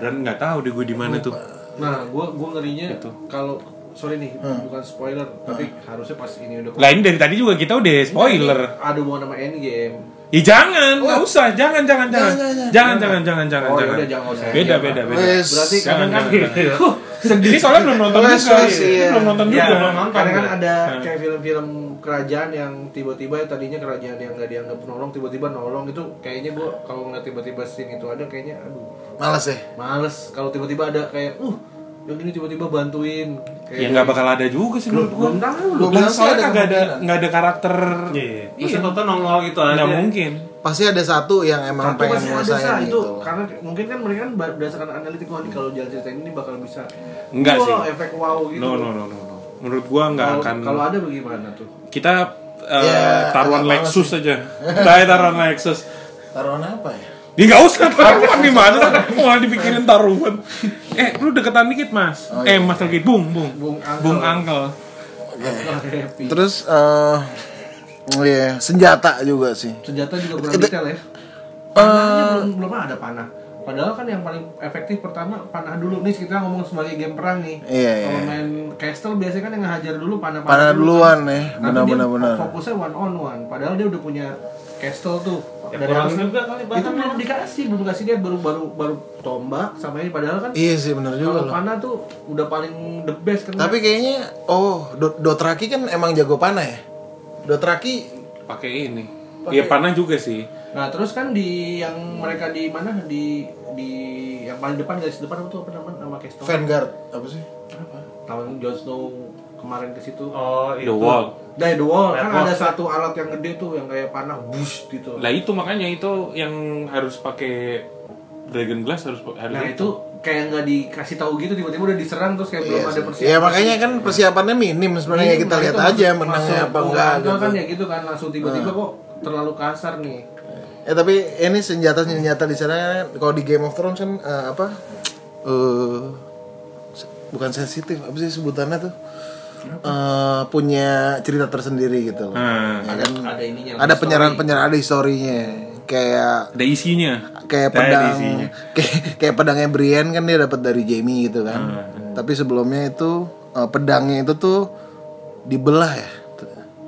S1: Bran nggak tahu di gue di mana
S3: Iya.
S1: tuh.
S2: Nah, gua gua ngerinya kalau sorry nih, bukan spoiler, tapi harusnya pas ini udah
S1: Lah ini dari tadi juga kita udah spoiler.
S2: ada mau nama endgame.
S1: Ya jangan, nggak usah, jangan, jangan, jangan, jangan, jangan, jangan, jangan,
S2: Oh,
S1: jangan.
S2: yaudah, jangan usah.
S1: Beda, beda, beda.
S3: Wes.
S2: Berarti
S1: Jangan, jangan, jangan.
S5: Huh,
S1: Ini soalnya belum nonton
S3: Wes,
S1: juga, ya.
S3: wes,
S1: ini
S3: iya.
S1: belum nonton
S5: Iya,
S1: juga.
S5: belum nonton.
S2: Karena kan
S5: Bang.
S2: ada kayak film-film kerajaan yang tiba-tiba ya tadinya kerajaan yang gak dianggap nolong tiba-tiba nolong itu kayaknya gua kalau ngeliat tiba-tiba scene itu ada kayaknya aduh
S3: Males ya?
S2: males kalau tiba-tiba ada kayak uh yang ini tiba-tiba bantuin kayak
S1: Ya nggak bakal ada juga sih menurut gua.
S2: belum tahu
S3: Gua
S1: Lah,
S3: bilang sih
S1: soalnya
S3: ada
S1: kagak ada,
S3: kemungkinan.
S1: nggak ada karakter.
S5: Iya. Masa Toto nongol gitu aja.
S1: Nggak mungkin.
S3: Pasti ada satu yang emang
S2: Satu
S3: pengen
S2: pasti ada, Sa,
S3: nguasain
S2: itu
S3: gitu.
S2: karena mungkin kan mereka kan ber- berdasarkan analitik wah ini kalau jalan cerita ini bakal bisa
S1: Enggak
S2: wow,
S1: sih.
S2: efek wow gitu
S1: No, no, no, no, no. Menurut gua nggak
S2: Kalau-
S1: akan.
S2: kalau ada bagaimana tuh
S1: Kita eh,
S3: Ya,
S1: taruhan
S3: agak males
S1: Lexus aja. Nah, taruhan Lexus.
S3: Taruhan apa ya?
S1: Ya nggak usah taruhan di mana, malah dipikirin taruhan. Eh, lu deketan dikit mas. Eh, mas lagi bung, bung,
S2: Bung Angkel.
S1: bung angkel.
S2: (laughs)
S3: Eh.
S2: happy
S3: Terus eh iya, senjata juga sih.
S2: senjata juga kurang detail
S3: Eh.
S2: ya panahnya belum belum ada panah padahal kan yang paling efektif pertama panah dulu nih kita ngomong sebagai game perang nih
S3: Iya,
S2: kalau
S3: iya.
S2: main castle biasanya kan yang hajar dulu panah
S3: Panah duluan ya,
S2: Tapi
S3: benar
S2: dia
S3: benar benar.
S2: fokusnya one on one padahal dia udah punya castle tuh
S5: Ya,
S2: Dari
S5: kurang
S2: atas-
S5: juga kali
S2: itu
S5: bahannya.
S2: belum dikasih belum dikasih dia baru baru baru tombak sama ini padahal kan
S3: Iya sih benar juga
S2: kalau
S3: loh.
S2: panah tuh udah paling the best kan
S3: Tapi kayaknya oh Do- Dotraki kan emang jago panah ya. Dotraki
S1: pakai ini Iya panah juga sih
S2: Nah terus kan di yang mereka di mana di di yang paling depan garis depan itu apa namanya nama Kesto?
S3: Vanguard apa sih?
S2: Tahun Jon Snow kemarin ke situ.
S5: Oh, itu.
S1: the wall
S2: Dari the wall kan
S5: Red
S2: ada satu alat yang gede tuh yang kayak panah bush gitu.
S1: lah itu makanya itu yang harus pakai Dragon Glass harus harus
S2: Nah itu kayak nggak dikasih tahu gitu tiba-tiba udah diserang terus kayak belum
S3: Iya
S2: ada
S3: sih.
S2: persiapan.
S3: Ya makanya kan persiapannya minim sebenarnya ya, kita lihat aja menangnya apa enggak
S2: gitu. kan
S3: gitu. Nah.
S2: ya gitu kan langsung tiba-tiba kok terlalu kasar nih.
S3: Ya tapi ini senjata senjata di sana kalau di Game of Thrones kan eh, apa? eh se- bukan sensitif apa sih sebutannya tuh? Eh, punya cerita tersendiri gitu loh.
S1: Ah,
S3: Ya kan?
S2: Ada ininya.
S3: Ada penyerang-penyerang ada historinya kayak
S1: ada isinya. Saya
S3: kayak
S1: ada
S3: pedang
S1: isinya.
S3: (laughs) kayak, kayak pedangnya Brian kan dia dapat dari Jamie gitu kan. Tapi sebelumnya itu eh, pedangnya itu tuh dibelah ya.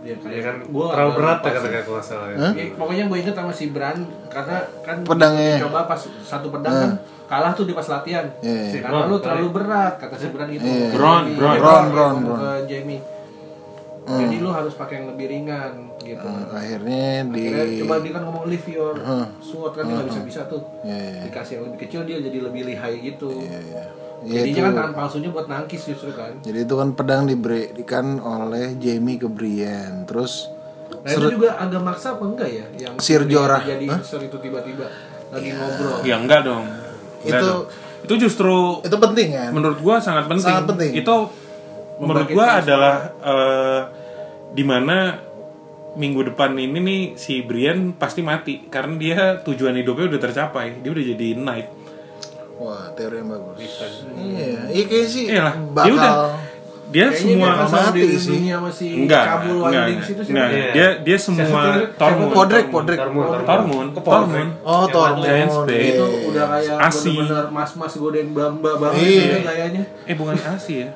S2: Ya, kayak-
S5: Ya kan, terlalu berat ya kata kalau nggak salah. ya.
S2: Ya, pokoknya gue inget sama si Bran karena kan
S3: Pedangnya. Nah.
S2: coba pas satu pedang kan kalah tuh di pas latihan.
S3: Iya.
S2: Si Karena lu terlalu berat kata si Bran gitu.
S1: Bron,
S2: Jadi,
S1: Bron.
S2: dia ngomong
S3: Bron, Bron,
S2: ke
S3: Bron. Hmm.
S2: Jamie. Jadi lu harus pakai yang lebih ringan gitu.
S3: Nah, akhirnya di
S2: Akhirnya coba dia kan ngomong lift your sword kan dia nggak bisa bisa tuh.
S3: Iya,
S2: Dikasih yang lebih kecil dia jadi lebih lihai gitu.
S3: Ya,
S2: Jadinya kan tangan palsunya buat nangkis justru kan.
S3: Jadi itu kan pedang diberikan oleh Jamie ke Brian. Terus
S2: Nah itu juga agak maksa apa enggak ya yang
S3: Sir Jorah.
S2: jadi Sir itu tiba-tiba lagi ngobrol.
S1: Ya enggak dong. Enggak
S3: Itu-
S1: dong. itu justru
S3: itu penting kan?
S1: menurut gua sangat penting.
S3: Sangat penting.
S1: Itu menurut gua adalah eh, dimana minggu depan ini nih si Brian pasti mati karena dia tujuan hidupnya udah tercapai. Dia udah jadi knight.
S3: Wah, teori yang bagus. Iya, iya kayaknya sih
S1: Iyalah, dia udah
S3: bakal
S1: dia semua
S2: Kayaknya dia sama
S3: mati
S2: di
S3: sih.
S2: dunia masih
S1: enggak
S2: cabul
S1: enggak,
S2: wanding
S1: enggak.
S2: situ sih.
S1: Nah,
S5: Iya.
S1: dia dia semua Tormund
S3: Podrick,
S1: Tormund.
S3: Podrick.
S5: Tormund,
S1: Tormund Tormund
S3: Oh,
S1: Giant
S3: Tormund.
S1: Spade.
S2: Itu
S3: Oh, Itu
S2: udah kayak
S1: Asi.
S2: bener-bener mas-mas godain bamba banget
S3: Iya.
S2: gitu kayaknya.
S1: eh bukan ASI ya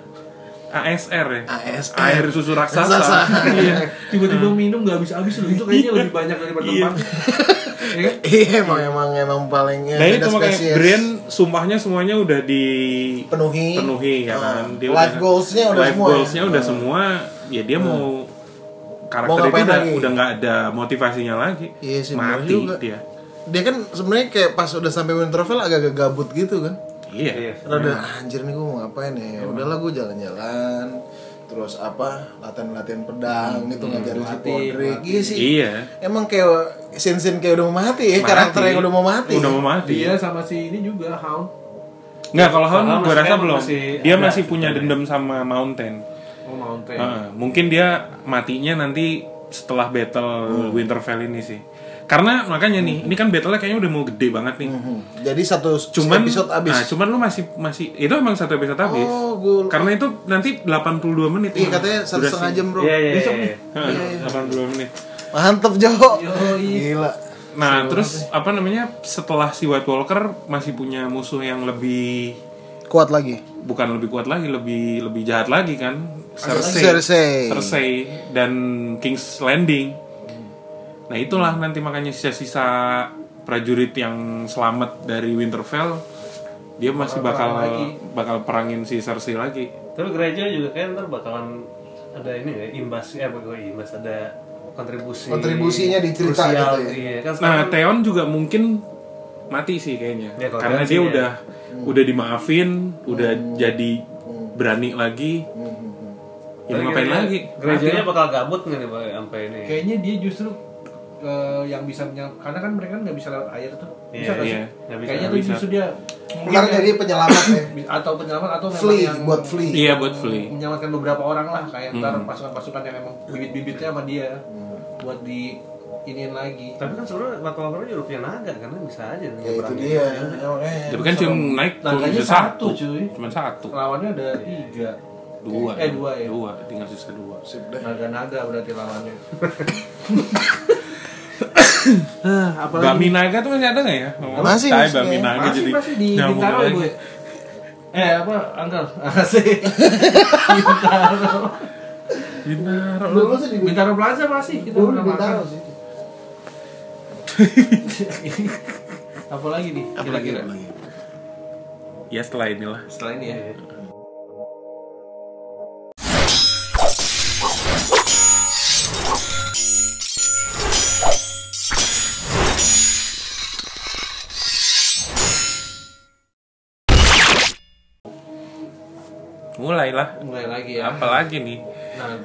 S1: ASR ya
S3: ASR.
S1: air susu
S3: Raksasa.
S1: raksasa iya
S2: Tiba-tiba minum gak habis-habis loh. Itu kayaknya lebih banyak daripada (laughs)
S1: Iya.
S2: tempat. Ya kan?
S3: (laughs) Iya, emang emang emang paling ya,
S1: Nah itu
S3: beda
S1: makanya
S3: spesies.
S1: Brian sumpahnya semuanya udah di
S3: penuhi.
S1: penuhi ya
S3: Ah,
S1: kan. Dia udah-
S3: life goals-nya udah
S1: life
S3: semua. ya? Ah. Hmm.
S1: goals-nya udah semua. Ya dia mau karakter
S3: Mau
S1: itu
S3: ngapain
S1: udah
S3: lagi?
S1: udah nggak ada motivasinya lagi.
S3: Iya sih, bener
S1: Mati
S3: juga.
S1: dia.
S3: Dia kan sebenarnya kayak pas udah sampai Winterfell agak-agak gabut gitu kan.
S1: Iya.
S5: Iya.
S3: Rada anjir nih gue mau ngapain ya? Udahlah gue jalan-jalan. Terus apa? Latihan-latihan pedang gitu ngajarin si Podrick. Iya sih.
S1: Iya.
S3: Emang kayak sin-sin kayak udah mau mati ya, karakter yang udah mau mati.
S1: Udah mau mati.
S5: Iya.
S2: Dia sama si ini juga Hound.
S1: Nggak kalau Hound
S5: Soalnya
S1: gue
S5: masih
S1: rasa
S5: kan
S1: belum.
S5: masih
S1: dia
S5: ada
S1: masih punya
S5: sebenarnya. Iya.
S1: dendam sama Mountain.
S2: Oh Mountain.
S1: Heeh, mungkin dia matinya nanti setelah
S5: Hmm.
S1: battle Winterfell ini sih. Karena makanya nih, ini kan battle-nya kayaknya udah mau gede banget nih.
S3: Hmm. Jadi satu
S1: cuman
S3: episode
S1: Nah,
S3: abis.
S1: cuman lu masih masih itu emang satu episode habis.
S3: oh, gue
S1: Karena itu nanti 82 menit.
S3: Iya katanya satu
S1: Durasi.
S3: setengah jam bro.
S5: Iya, iya, iya, iya.
S1: Heeh, 82 menit.
S3: Mantep Jo.
S2: Yoi.
S3: Gila.
S1: Nah, terus apa namanya? Setelah si White Walker masih punya musuh yang lebih
S3: Kuat lagi.
S1: bukan lebih kuat lagi, lebih lebih jahat lagi kan? Cersei.
S3: Cersei.
S1: Cersei dan King's Landing.
S3: Hmm.
S1: Nah, itulah nanti makanya sisa-sisa prajurit yang selamat dari Winterfell dia masih bakal bakal perangin si Cersei lagi.
S5: Tapi gereja juga kan ntar bakalan ada ini ya imbas ya bukan imbas ada kontribusi
S3: Kontribusinya di cerita
S5: krusial
S3: gitu ya.
S5: Iya, kan
S1: Nah,
S5: sekarang
S1: Theon juga mungkin mati sih kayaknya.
S5: Ya, kalau
S1: Karena dia
S5: Theon sih, ya.
S1: udah udah dimaafin, udah jadi berani lagi. Ya,
S5: tapi
S1: ngapain
S5: kira-kira
S1: lagi?
S5: Gerejanya
S1: Mati.
S5: Iya, bakal gabut nggak nih Pak, sampai
S1: Iya.
S5: ini?
S2: Kayaknya dia justru eh, yang bisa menyel- karena kan mereka kan nggak bisa lewat air tuh bisa
S5: Iya,
S2: nggak sih?
S1: iya.
S5: Nggak bisa,
S2: kayaknya
S1: nggak
S2: tuh
S1: bisa.
S2: justru dia
S3: Ntar
S2: mungkin
S3: jadi penyelamat ya.
S2: ya, atau penyelamat atau memang
S3: Flea,
S2: yang
S3: buat Flea.
S1: Iya buat Flea. Hmm.
S2: menyelamatkan beberapa orang lah kayak ntar pasukan-pasukan yang emang bibit-bibitnya sama dia
S3: Hmm.
S2: buat di iniin lagi
S5: Tapi kan sebenarnya Marco Marco juga punya naga karena bisa aja.
S3: Ya itu
S5: nyebrangin.
S3: dia. ya, makanya.
S1: Tapi kan cuma naik cuma
S2: Naganya
S1: bisa
S2: satu,
S1: satu,
S2: cuy.
S1: cuma satu,
S2: lawannya ada tiga
S1: dua,
S2: Eh, dua ya.
S1: dua, tinggal sisa dua.
S3: Sip dah.
S2: naga-naga berarti lawannya
S1: Bami naga tuh masih ada nggak ya?
S3: Masih,
S1: Saya
S3: masih,
S1: Bami
S3: ya.
S1: naga
S2: masih
S1: jadi
S2: masih di
S1: nyambung
S2: Bintaro
S1: lagi.
S2: ibu ya? eh apa (laughs) angkel masih Bintaro
S1: Bintaro.
S3: Dulu sih di
S2: Bintaro Plaza masih kita
S3: dulu
S2: pernah
S3: di Bintaro
S2: makan
S3: sih.
S2: (laughs) apa lagi nih kira-kira
S1: Ya setelah inilah.
S2: setelah ini ya
S1: Iya. Mulailah.
S2: mulai lagi ya
S1: Apa lagi nih?
S2: nah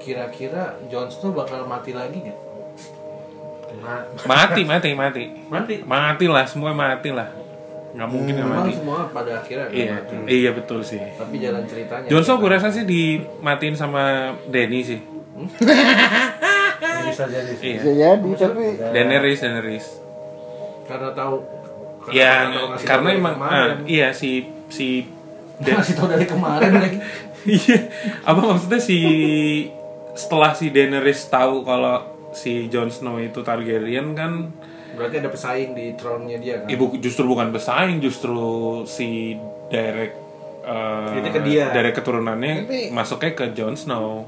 S2: kira-kira Jon Snow bakal mati lagi nggak Nah,
S5: Nah,
S1: Mati, mati, mati.
S5: nanti
S1: Mati lah, semua mati lah. nggak mungkin nggak
S2: Memang
S1: mati
S2: semua pada akhirnya ada
S1: iya
S2: mati.
S1: iya betul sih
S2: Tapi jalan ceritanya.
S1: Johnson gue rasa sih dimatiin sama Denny sih
S5: bisa jadi sih.
S1: iya
S3: Bisa jadi tapi
S1: Daenerys Daenerys
S2: karena tahu
S1: yang
S2: tahu ngasih
S1: Ya, karena
S2: tahu dari
S1: emang
S2: kemarin. kan.
S1: ah, iya si si Da-
S2: (laughs) ngasih tahu dari
S1: (laughs)
S2: kemarin lagi.
S1: Iya, apa maksudnya si setelah si Daenerys tahu kalau si Jon Snow itu Targaryen kan
S8: Berarti ada pesaing di throne-nya dia kan?
S1: ibu Eh, justru bukan pesaing justru si direct eh,
S8: Itu ke dia.
S1: direct keturunannya masuknya ke Jon Snow.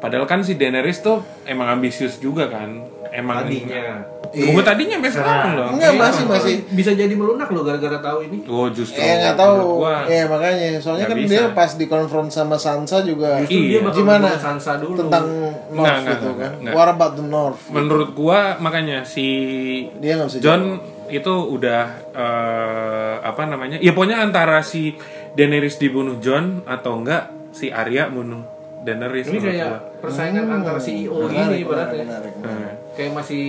S1: Padahal kan si Daenerys tuh emang ambisius juga kan. Emang
S8: Tadinya.
S1: Gue tadinya sampai sekarang loh.
S3: Iya. enggak
S2: Iya,
S3: masih masih
S8: Bisa jadi melunak loh gara-gara tahu ini.
S1: Gue justru
S3: Eh
S1: menurut
S3: nggak tahu,
S1: gua-
S3: ya makanya soalnya
S1: nggak
S3: kan
S1: bisa.
S3: dia pas dikonfront sama Sansa juga
S1: Iya.
S8: Dia bakal
S3: gimana
S8: ngomong Sansa dulu.
S3: tentang North
S1: Nggak, nggak,
S3: gitu
S1: nggak,
S3: kan?
S1: nggak.
S3: What about the North?
S1: menurut gua makanya si
S3: Dia nggak bisa
S1: John itu udah eh, apa namanya ya pokoknya antara si Daenerys dibunuh John atau enggak si Arya bunuh Daenerys
S2: Ini
S1: menurut
S2: kayak
S1: gua.
S2: persaingan antara CEO
S3: Hmm, Menarik,
S2: gini ibaratnya.
S3: menarik, menarik.
S1: Nah,
S2: Kayak masih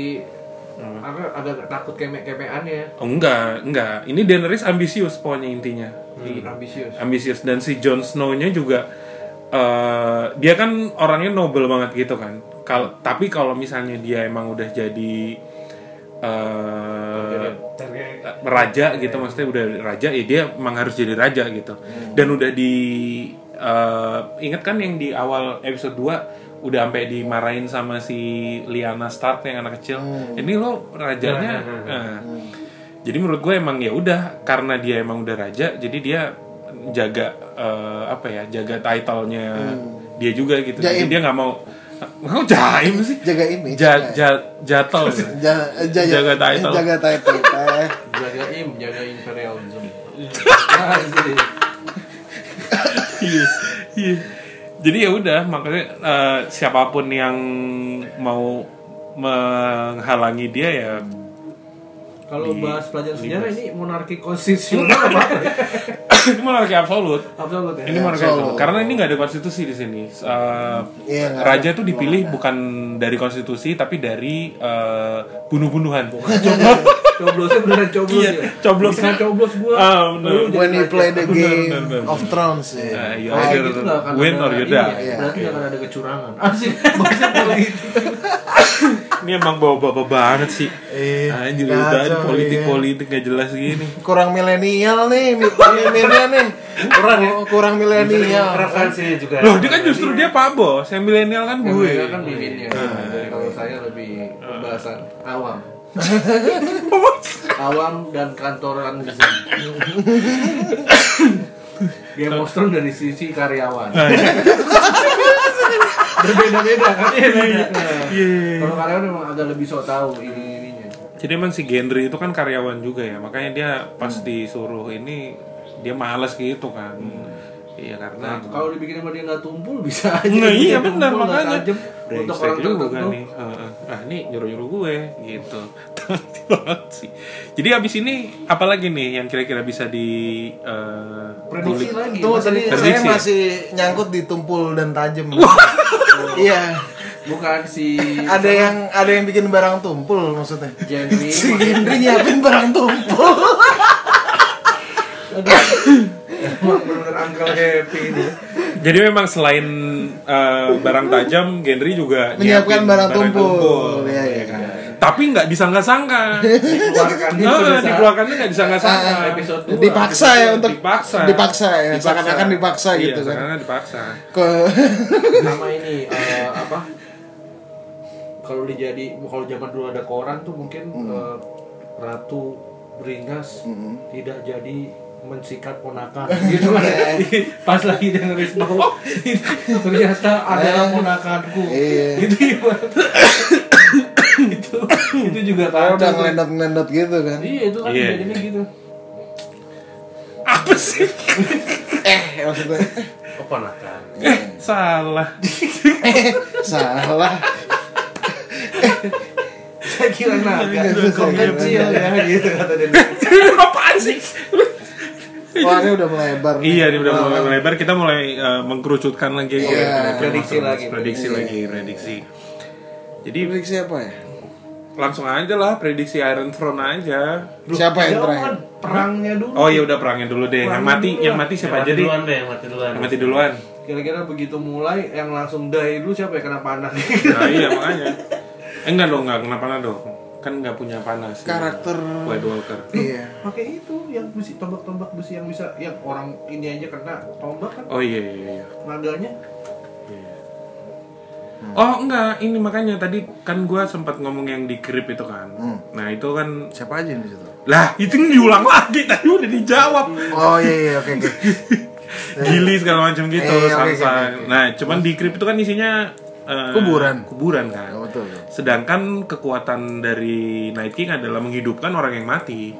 S1: Hmm.
S2: agak agak takut ya. kemek-kemekannya.
S1: oh, enggak enggak ini Daenerys ambisius pokoknya intinya Hmm.
S2: Ambisius.
S1: ambisius dan si Jon Snow-nya juga eh, dia kan orangnya noble banget gitu kan kalau tapi kalau misalnya dia emang udah jadi eh
S5: Targaryen.
S1: raja gitu maksudnya udah raja ya dia emang harus jadi raja gitu dan udah di eh, ingat kan yang di awal episode 2 udah sampai dimarahin sama si Liana Stark yang anak kecil
S3: Hmm.
S1: ini lo rajanya eh. jadi menurut gue emang ya udah karena dia emang udah raja jadi dia jaga eh, apa ya jaga title-nya dia juga gitu jadi
S3: Hmm. Jaim.
S1: dia nggak mau (laughs) mau jaim sih
S3: Jaga image.
S1: ja,
S3: ya.
S1: ja- jatel
S3: (laughs) Ja- eh, ja-
S1: jaga title.
S3: Jaga
S1: (laughs)
S3: title. eh.
S2: Jaga im, jaga imperialism.
S1: Iya, iya. Jadi ya udah makanya eh, siapapun yang mau menghalangi dia ya (coughs)
S2: Kalau
S1: Di-
S2: bahas pelajaran
S1: di
S2: sejarah
S1: bahas.
S2: ini monarki konstitusional
S1: (laughs)
S2: apa?
S1: ini monarki absolut.
S2: Absolut ya.
S1: Ini monarki absolut.
S3: Iya, Absolut.
S1: Karena ini nggak ada konstitusi di sini. Eh,
S3: Iya, nggak
S1: raja
S3: ada.
S1: tuh dipilih bukan dari konstitusi tapi dari eh, bunuh-bunuhan.
S2: Coblosnya beneran coblos
S1: Iya,
S2: ya.
S1: coblosnya.
S2: Bisa coblos gua.
S1: Ah, bener.
S2: Lu jadi
S3: When you
S2: raja.
S3: play the
S1: Benar,
S3: game
S1: benar, benar.
S3: of Thrones ya.
S1: Nah, iya,
S3: Oh,
S1: iya.
S2: Kayak gitu nggak akan
S1: Win
S2: ada
S1: or you
S2: ini
S1: die. Ah,
S2: ya,
S3: Iya.
S2: Berarti nggak akan ada kecurangan. Asik. (laughs)
S1: (laughs)
S2: Maksudnya gitu. politik.
S1: ini emang bawa-bawa banget sih.
S3: Iya,
S1: Anjir Nah,
S3: kacau,
S1: udah
S3: iya.
S1: politik-politik nggak jelas gini.
S3: kurang milenial nih, milenial nih. Kurang
S1: ya?
S3: kurang milenial.
S5: Referensinya juga.
S1: Loh, dia kan justru dia Pak Bos, yang milenial kan
S2: Yang
S1: gue.
S2: beda kan miminnya.
S1: Ah.
S2: Jadi Kalau saya lebih pembahasan awam. awam dan kantoran gitu. Game of Thrones dari sisi karyawan.
S1: Ah,
S2: Berbeda-beda kan?
S1: Iya.
S2: Kalau karyawan memang agak lebih so tahu ini ininya.
S1: Jadi emang si Gendry itu kan karyawan juga ya, makanya dia pas
S2: Hmm.
S1: disuruh ini dia males gitu kan. Iya karena
S2: Nah, kalau dibikin sama dia nggak tumpul bisa aja.
S1: Nah, iya
S2: Dia
S1: benar
S2: tumpul, nggak
S1: makanya.
S2: tajam. Untuk
S1: Brengsek
S2: orang
S1: juga
S2: tertentu.
S1: nih. Heeh. Ah, ini nyuruh-nyuruh gue gitu. (laughs) Tanti banget sih. Jadi abis ini apalagi nih yang kira-kira bisa di eh,
S2: Prediksi lagi.
S3: Tuh
S2: masih
S3: tadi
S2: di-
S3: saya
S1: Prediksi ya?
S3: masih nyangkut di tumpul dan tajam. Iya.
S2: bukan
S1: (laughs)
S2: si
S1: Iya,
S3: Ada yang ada yang bikin barang tumpul maksudnya.
S2: Jenny.
S3: Si Gendry nyiapin barang tumpul.
S2: Emang bener-bener angkel happy ini.
S1: Jadi memang selain eh, barang tajam, Gendry juga
S3: Menyiapkan
S1: nyiapin
S3: barang tumpul. Iya, iya.
S1: kan? Tapi nggak disangka-sangka.
S2: Dikeluarkannya
S1: (laughs) Nah,
S2: sudah saat
S1: dikeluarkannya nggak disangka-sangka.
S3: Ah,
S2: episode dua.
S3: Dipaksa ya untuk
S1: dipaksa.
S3: Dipaksa ya, seakan-akan dipaksa
S1: Iya,
S3: gitu kan.
S1: seakan-akan dipaksa.
S3: Ke
S2: sama ini eh, apa? Kalau dijadi kalau zaman dulu ada koran tuh mungkin
S3: Hmm.
S2: eh, ratu beringas tidak jadi mensikat
S3: (laughs)
S2: ponakan
S3: Iya.
S2: gitu kan pas lagi dia nulis bau ternyata adalah ponakanku
S3: Eh. Iya.
S2: gitu gimana? itu itu juga
S3: Kayak
S2: kacau
S3: udah
S2: tuh.
S3: ngelendot-ngelendot gitu kan.
S2: iya itu kan
S1: Iya.
S2: jadinya gitu
S1: Apa sih?
S3: Eh, maksudnya
S5: oh, keponakan.
S3: Iya.
S1: Salah. (laughs)
S3: eh, salah.
S2: saya kira
S1: Iya,
S2: naga
S3: Gitu,
S2: kok
S3: saya kira
S2: kecil ya gitu kata dia
S1: Apaan sih?
S3: Wah, ini udah melebar. nih.
S1: Iya, ini udah mulai melebar. Kita mulai eh, mengkerucutkan lagi.
S3: Ah. Iya,
S1: Kita
S2: prediksi
S1: masuk-
S2: lagi.
S1: Prediksi lagi, prediksi. Jadi
S3: Prediksi apa ya?
S1: langsung aja lah prediksi Iron Throne aja.
S3: Siapa
S1: ya
S3: yang
S2: Jawab
S3: terakhir?
S2: kan, Perangnya dulu.
S1: Oh ya udah perangin dulu deh. yang
S2: Perangin
S1: mati,
S2: dulu
S1: yang
S2: lah.
S1: mati
S5: Yang
S1: siapa
S5: mati
S1: aja deh?
S5: duluan deh, yang mati duluan.
S1: Yang mati duluan.
S2: Kira-kira begitu mulai yang langsung die dulu siapa ya kena panas?
S1: Nah iya makanya. Eh, enggak dong, enggak kenapa napa dong. Kan enggak punya panas.
S3: Karakter.
S1: White Walker.
S3: Iya.
S2: (laughs) Pakai itu yang besi tombak-tombak besi yang bisa yang orang ini aja kena tombak kan
S1: Oh iya iya iya.
S2: naganya.
S1: Iya. Oh enggak, ini makanya tadi kan gua sempat ngomong yang di krip itu kan.
S3: Hmm.
S1: Nah itu kan
S3: Siapa aja yang di situ?
S1: lah itu diulang lagi tadi udah dijawab
S3: Oh iya iya oke oke.
S1: gili segala macam gitu
S3: Eh, oke,
S1: samsang.
S3: oke, oke.
S1: Nah cuman di krip itu kan isinya eh,
S3: Kuburan.
S1: kuburan kan.
S3: Oh, betul.
S1: Sedangkan kekuatan dari Night King adalah menghidupkan orang yang mati.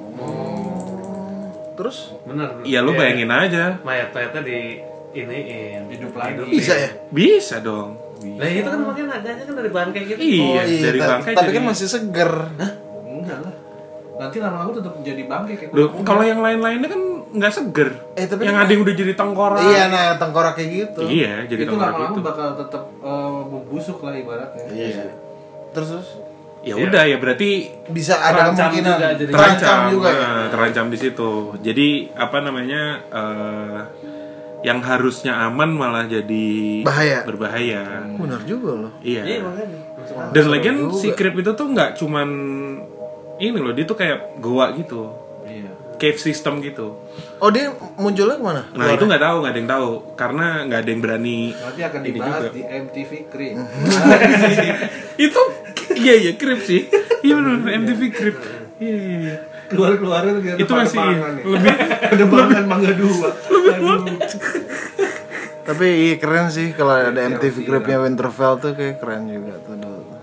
S3: Terus
S5: Bener.
S1: Iya lu
S5: Dia
S1: bayangin aja.
S5: Mayat-mayatnya di iniin.
S2: Hidup lagi.
S3: bisa ya?
S1: Bisa dong.
S5: Nah itu kan makanya naganya kan dari bangkai gitu.
S1: Iya, dari
S3: ta-
S1: bangkai
S3: Tapi
S1: jadi-
S3: kan masih seger.
S2: Enggak lah. Nanti lama-lama tetap jadi bangke kayak gitu.
S1: Loh, kalau yang lain-lainnya kan nggak seger.
S3: Eh, tapi
S1: yang
S3: kan-
S1: ada yang udah jadi tengkorak.
S3: Iya nah tengkorak kayak gitu.
S1: Iya, jadi
S2: itu
S1: tengkorak
S2: lama-lama
S1: itu.
S2: bakal tetap eh, membusuk lah ibaratnya.
S3: Iya. Terus, terus
S1: Ya udah ya berarti
S3: bisa Iya. ada
S5: Terancam
S3: kemungkinan
S5: juga jadi-
S1: terancam,
S3: juga ya.
S1: Nah, terancam di situ. Jadi apa namanya? eh, yang harusnya aman malah jadi
S3: Bahaya.
S1: berbahaya.
S3: Benar juga loh.
S1: Iya.
S5: Iya makanya. Masuk akal.
S1: Dan lagian
S3: juga.
S1: si Krip itu tuh nggak cuman ini loh, dia tuh kayak goa gitu,
S2: Iya.
S1: cave system gitu.
S3: Oh dia munculnya kemana?
S1: Nah itu nggak tahu, nggak ada yang tahu, karena nggak ada yang berani.
S2: Nanti akan
S1: Ini
S2: dibahas
S1: juga.
S2: di MTV Crib.
S1: (laughs)
S2: (laughs)
S1: itu iya iya Krip sih, iya benar MTV Krip. Iya, iya, iya.
S2: Keluar-keluarnya tuh
S1: Itu masih
S2: lebih ya. (laughs) ada bangan mangga dua. Aduh.
S3: Tapi iya keren sih kalau ada MTV Gripnya Winterfell tuh kayak keren juga tuh. dulu.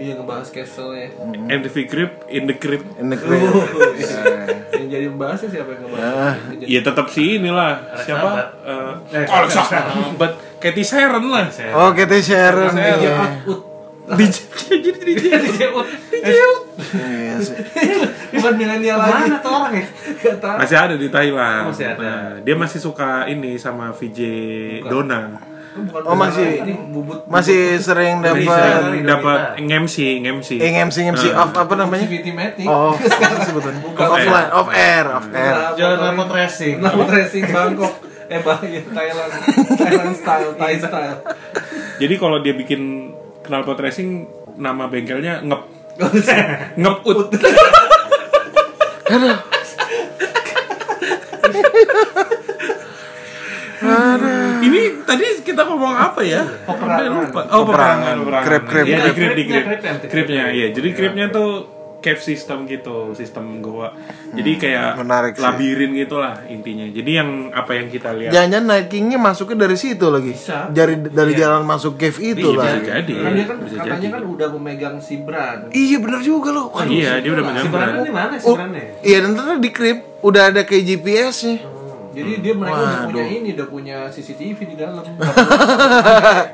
S2: Iya ngebahas castle ya.
S3: Hmm.
S1: MTV Krip in the Krip.
S3: Ini keren.
S2: Yang jadi membahasnya siapa yang ngebahas?
S3: Ah.
S2: Yang jadi-
S1: Ya tetap sih inilah siapa?
S5: Oh,
S1: Eh, Alex Sabat, Katy Siren lah.
S3: Oh kita Sharon
S2: Iya,
S3: iya.
S2: Ut.
S1: DJ (laughs) jadi DJ. DJ.
S3: Iya sih.
S2: Bukan milenial lagi. Mana tuh orang ya? Gak tau.
S1: Masih ada di Thailand.
S5: Masih ada.
S1: Nah, dia masih suka ini sama VJ Dona.
S2: Bukan
S3: Oh, masih-
S2: ini bubut
S3: Masih sering
S1: Jadi sering
S3: dapat
S5: Indonesia.
S1: dapat ngemsi ngemsi.
S3: eh, MC MC off apa namanya?
S2: activity matic.
S3: Oh, off sebetulnya. Offline, off air, off air.
S5: Jalan rapot racing.
S2: Nama racing Bangkok. Eh bahaya Thailand. Thailand style, Thai style.
S1: Jadi kalau dia bikin knalpot racing nama bengkelnya ngep ngep ut. Ini tadi kita ngomong apa ya? Sampai lupa. Oh, peperangan, peperangan.
S3: Krep, krep,
S1: Iya, di
S5: krep.
S1: krep, di krep.
S5: Krepnya, krep.
S1: Krepnya, iya. Jadi krepnya tuh cave system gitu, sistem goa. Jadi kayak
S3: Hmm. menarik sih. Ya,
S1: labirin gitulah intinya. Jadi yang apa yang kita lihat
S3: Jangan-jangan Night King-nya masuknya dari situ lagi.
S2: Bisa.
S3: Dari dari jalan masuk cave itu
S1: Iya, bisa
S3: lagi.
S1: jadi.
S2: Karena dia kan
S1: Bisa
S2: katanya
S1: jadi.
S2: kan udah memegang si brand.
S3: Iya benar juga loh. Waduh.
S1: Iya, dia udah
S5: Si
S1: benar-benar.
S5: Brandon di mana sih
S3: Oh,
S5: Brandon ya?
S3: iya dan ternyata di crib udah ada kayak GPS-nya.
S2: Jadi dia mereka udah
S3: Waduh.
S2: punya ini, udah punya CCTV di dalam. Nggak perlu-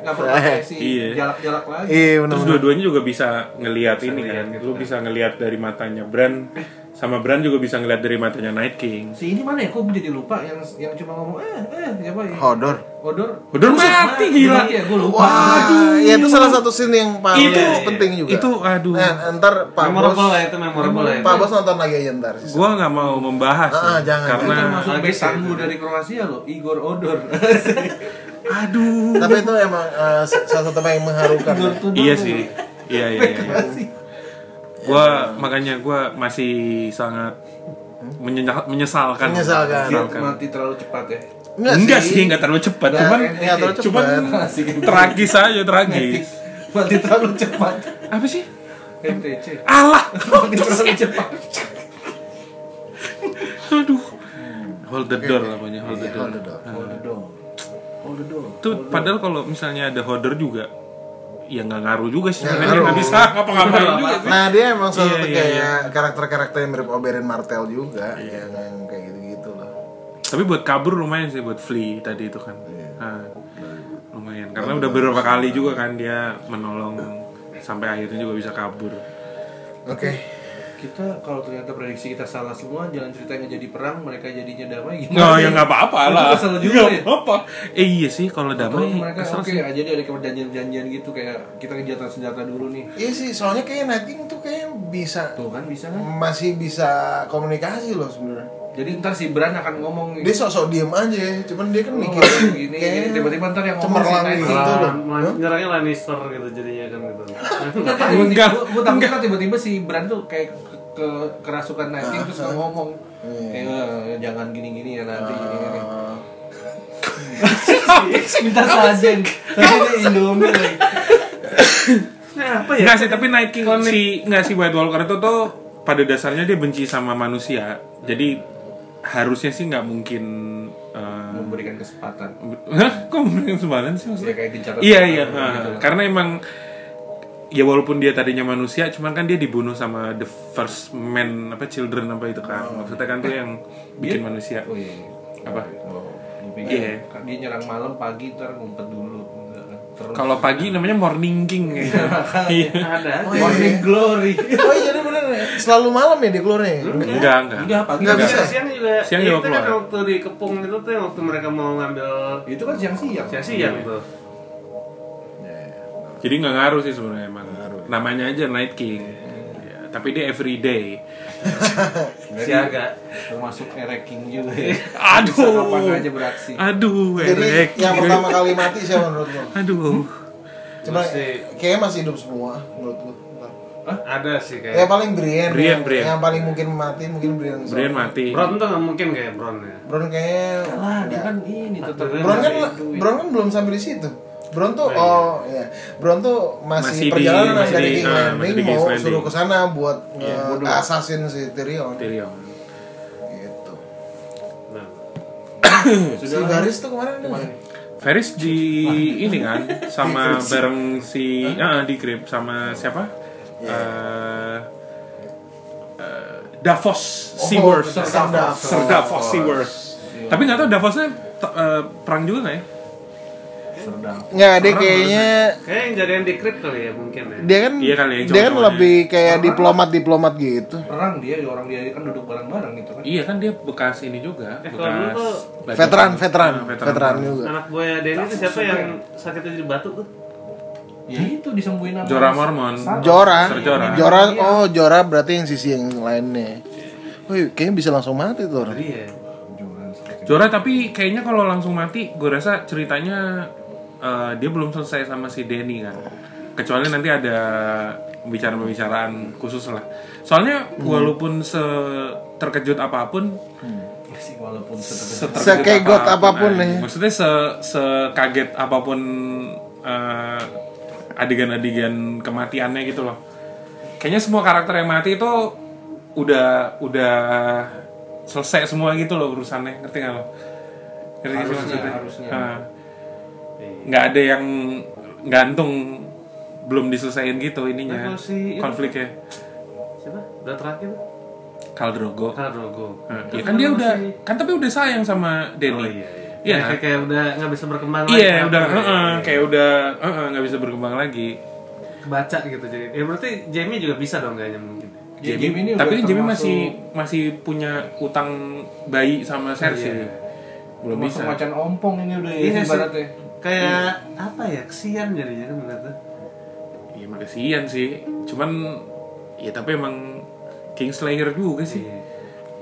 S2: Nggak perlu pakai si
S1: Iya.
S2: jalak-jalak lagi.
S3: Iya benar.
S1: Terus dua-duanya juga bisa ngelihat ini kan. Lu bisa ngelihat dari matanya Bran sama Bran juga bisa ngelihat dari matanya Night King.
S2: Si ini mana ya? Kok gue jadi lupa yang yang cuma ngomong eh eh siapa ya?
S3: Hodor.
S2: Odor.
S1: Hodor mati, gila.
S2: Mati ya, gue lupa.
S3: Waduh. Iya itu salah satu scene yang paling
S1: Itu
S3: penting juga.
S1: Itu aduh.
S3: Nah, ntar Pak
S5: Memorable
S3: Bos,
S5: lah itu memorable lah itu.
S3: Pak Bos nonton lagi aja ntar.
S1: Gua nggak mau membahas
S3: Ah,
S1: ya,
S3: jangan,
S1: karena
S2: Itu masuk
S5: Lagi
S2: back
S5: sih.
S2: tangguh dari Kroasia loh, Igor Odor. Iya.
S1: aduh.
S3: Tapi itu emang eh, salah satu yang mengharukan.
S2: Igor
S3: ya.
S2: Tudor
S1: Iya
S2: tuh.
S1: sih. Iya iya. iya.
S2: Kroasia.
S1: Gua makanya gua masih sangat menyenya- menyesalkan.
S3: Menyesalkan.
S2: Dia
S1: Menyesalkan.
S2: mati terlalu cepat ya.
S1: Enggak sih, enggak terlalu cepat, gitu.
S3: Nggak,
S1: kan. cuman
S3: nggak terlalu
S1: cuman
S3: cepat.
S1: tragis aja, tragis.
S2: (laughs) Mati terlalu cepat.
S1: Apa sih?
S2: MTC.
S1: (laughs) Allah.
S2: Mati terlalu cepat.
S1: Aduh. Hold the door namanya, hold the
S3: Iya,
S1: door.
S3: hold the door.
S2: Hold the door. Hold the door.
S1: Itu padahal kalau misalnya ada holder juga ya nggak ngaruh juga sih
S3: Nggak
S1: sebenarnya nggak
S3: ngaruh.
S1: bisa ngapa-ngapain juga sih.
S3: Nah dia emang salah
S1: Iya,
S3: satu
S1: iya,
S3: kayak karakter-karakter yang mirip Oberyn Martell juga yang, yang kayak gitu-gitu loh
S1: Tapi buat kabur lumayan sih buat Flea tadi itu kan.
S3: Iya.
S1: Nah, lumayan karena udah beberapa kali juga kan dia menolong sampai akhirnya juga bisa kabur.
S3: Oke
S2: Oke. kita kalau ternyata prediksi kita salah semua, jalan ceritanya jadi perang, mereka jadinya damai gimana?
S1: Nah, ya nggak apa-apa
S2: Itu
S1: lah.
S2: kesel juga ya.
S1: Nggak apa. Eh iya sih kalau
S2: Terus
S1: damai.
S2: mereka
S1: kesel
S2: oke
S1: sih.
S2: aja jadi ada perjanjian-perjanjian gitu kayak kita kejahatan senjata dulu nih.
S3: Iya sih, soalnya kayak Nighting tuh kayak bisa
S2: Tuh kan bisa kan?
S3: masih bisa komunikasi loh sebenarnya.
S2: Jadi ntar si Bran akan ngomong
S3: Dia sok-sok diem aja, cuman dia kan
S2: Oh,
S3: mikir
S2: gini, gini. Tiba-tiba ntar yang ngomong
S3: cemerlang
S2: si Nighting.
S3: gitu loh.
S5: Lan- lan- nyerangnya Lannister gitu jadinya kan gitu.
S1: Enggak.
S2: Gue takut kan tiba-tiba si Bran tuh kayak ke, ke- kerasukan nanti terus nggak ngomong. Kayak "Eh, jangan gini-gini ya nanti gini gini.
S3: Ah.
S2: (laughs) Minta sajen. Tapi ini Indomie lagi.
S5: Nah, apa ya?
S1: Nggak sih, tapi Night King si nggak sih White Walker itu tuh pada dasarnya dia benci sama manusia. Jadi harusnya sih nggak mungkin eh,
S2: Memberikan kesempatan.
S1: Hah? Kok memberikan sumbangan sih maksudnya?
S2: Ya kayak bicara.
S1: Iya iya, ha,
S2: Gitu lah.
S1: karena emang ya walaupun dia tadinya manusia, cuman kan dia dibunuh sama the first man apa children apa itu kan, maksudnya kan tuh yang bikin manusia.
S2: Oh iya. iya.
S1: Apa?
S2: Oh, gua pikir
S1: Iya.
S2: kan dia nyerang malam pagi ntar ngumpet dulu. Enggak, Terus.
S1: Kalau pagi namanya morning king ya. Iya.
S3: Oh,
S5: Ada.
S3: iya,
S5: Warning
S3: iya.
S5: glory.
S3: Oh iya, jadi bener ya? Selalu malam ya dia keluarnya ya?
S1: Enggak enggak.
S2: Udah pagi.
S3: Nggak
S5: Iya,
S3: bisa.
S5: Siang juga.
S1: Siang
S5: Iya,
S1: juga
S5: kita kan
S1: keluar.
S5: waktu di Kepung itu tuh yang waktu mereka mau ngambil
S2: (laughs) Itu kan siang-siang.
S5: siang-siang tuh.
S1: Jadi nggak ngaruh sih sebenarnya emang.
S2: ya.
S1: Namanya aja night king.
S2: Iya.
S1: Ya, tapi dia everyday.
S5: Siaga.
S2: Termasuk ereking juga ya.
S1: Aduh.
S2: Bisa kapan aja beraksi. ya.
S1: Aduh,
S3: Jadi
S1: erek.
S3: yang pertama kali mati siapa menurut lo?
S2: Hmm?
S1: Aduh.
S3: Cuma
S5: Masih-
S3: kayaknya masih hidup semua menurut gue.
S5: Ada sih
S3: Ya
S5: kayak.
S3: paling Brian,
S1: Brian,
S3: yang,
S1: Brian.
S3: yang paling mungkin mati mungkin Brian.
S1: Brian
S3: Eh.
S1: mati.
S5: Bron tuh nggak mungkin kayak Bron ya.
S3: Bron kayaknya.
S2: Lah, dia kan ini tetap
S3: Bron kan
S2: nyari duit.
S3: Bron kan belum sampai di situ. Bron tuh oh ya, Bron tuh
S1: Iya. Masih
S3: masih,
S1: di-
S3: perjalanan
S1: masih
S3: dari
S1: di-
S3: King
S1: ah,
S3: Landing
S1: masih di Iya, King's
S3: mau
S1: Landing.
S3: suruh ke sana buat nge-
S2: bodoh.
S3: assassin si Tyrion.
S1: Tyrion.
S3: Gitu.
S5: Nah.
S3: Si Varys tuh kemarin ada nggak?
S1: Ferris di ini kan sama bareng si ah, di grip sama siapa?
S3: Iya.
S1: Eh, eh, Davos Seaworth.
S3: Oh, Sir Davos.
S1: Sir Davos Seaworth. Tapi nggak tahu Davosnya t- eh, perang juga nggak ya?
S2: Serdang.
S3: Nggak, dia kayaknya
S5: Kayak yang jadian di krip kali ya mungkin ya.
S3: dia kan
S1: Iya kali ya,
S3: dia kan
S1: cowok-cowoknya.
S3: lebih kayak diplomat diplomat gitu.
S2: Perang dia, orang dia kan duduk bareng-bareng gitu kan.
S1: Iya kan dia bekas ini juga,
S5: Eh, kalau dulu
S1: bekas
S5: tuh-
S3: Veteran, veteran,
S1: Ah, veteran.
S3: veteran juga.
S5: Anak buaya Denny itu siapa yang sakitnya jadi batu tuh?
S2: Ya itu disembuhin apa?
S1: Jorah Mormon.
S3: Jora.
S1: Sir Jorah.
S3: Jora. Oh, Jora berarti yang sisi yang lainnya. Wih, kayaknya bisa langsung mati tuh orang.
S5: Iya.
S1: Jorah tapi kayaknya kalau langsung mati, gue rasa ceritanya eh, dia belum selesai sama si Denny kan. Kecuali nanti ada pembicaraan-pembicaraan khusus lah. Soalnya walaupun se terkejut apapun,
S2: Ya sih, walaupun setelah
S1: seterkejut
S3: Sekegot apapun ya.
S1: eh, Maksudnya se sekaget apapun eh, adegan-adegan kematiannya gitu loh. Kayaknya semua karakter yang mati itu udah udah selesai semua gitu loh urusannya, ngerti nggak lo? Ngerti nggak sih
S2: Harusnya,
S1: maksudnya?
S2: harusnya.
S1: Ah. nggak ada yang gantung belum diselesain gitu ininya
S5: Nah, kalau si itu-
S1: konfliknya.
S5: Siapa? Udah terakhir?
S1: Kaldrogo.
S5: Kadrogo.
S1: Ah, iya kan dia udah kan tapi udah sayang sama Denny.
S5: Oh iya iya.
S1: Iya,
S5: Ya, kayak, kayak udah nggak bisa berkembang
S1: Iya,
S5: lagi.
S1: udah
S5: Iya,
S1: heeh,
S5: iya, iya.
S1: kayak udah heeh, nggak bisa berkembang lagi.
S5: Kebaca gitu jadi. Ya berarti Jamie juga bisa dong kayaknya mungkin.
S2: Ya, Jamie ini
S1: Tapi
S2: udah
S1: kan Jamie
S2: termasuk-
S1: masih masih punya utang bayi sama Cersei.
S5: Iya.
S1: Belum
S2: termasuk
S1: bisa.
S2: macan ompong ini udah ya,
S5: Iya sih.
S2: ibaratnya.
S5: Kayak apa ya? Kesian jadinya kan ternyata.
S1: Iya, makasihan sih. Cuman ya tapi emang Kingslayer juga sih.
S5: Iya.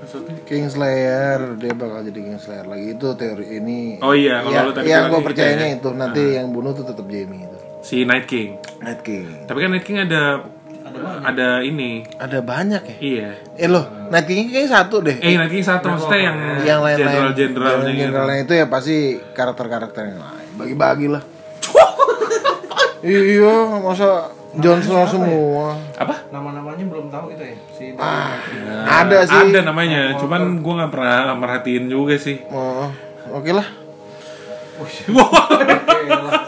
S1: Maksudnya
S3: Kingslayer, dia bakal jadi Kingslayer lagi itu teori ini.
S1: Oh iya, kalau
S3: ya,
S1: lu tadi
S3: yang
S1: bilang
S3: gue
S1: gitu
S3: percayanya
S1: ya.
S3: itu nanti yang bunuh tuh tetap Jamie itu.
S1: si Night King.
S3: Night King.
S1: Tapi kan Night King ada ada ini.
S3: Ada banyak ya.
S1: Iya.
S3: Eh loh, Night King kayaknya satu deh.
S1: Eh, Night King satu maksudnya yang
S3: yang lain-lain.
S1: jenderal-jenderalnya
S3: Yang
S1: gitu.
S3: generalnya itu ya pasti karakter-karakter yang lain. Bagi-bagi lah. (laughs) iya, masa Jon Snow semua.
S1: Apa?
S2: Nama-namanya belum tahu kita ya. Si
S3: Ah. ada sih.
S1: Ya, Ada namanya, cuman gua nggak pernah merhatiin juga sih.
S3: Oh, oke lah.
S2: Oke, lah.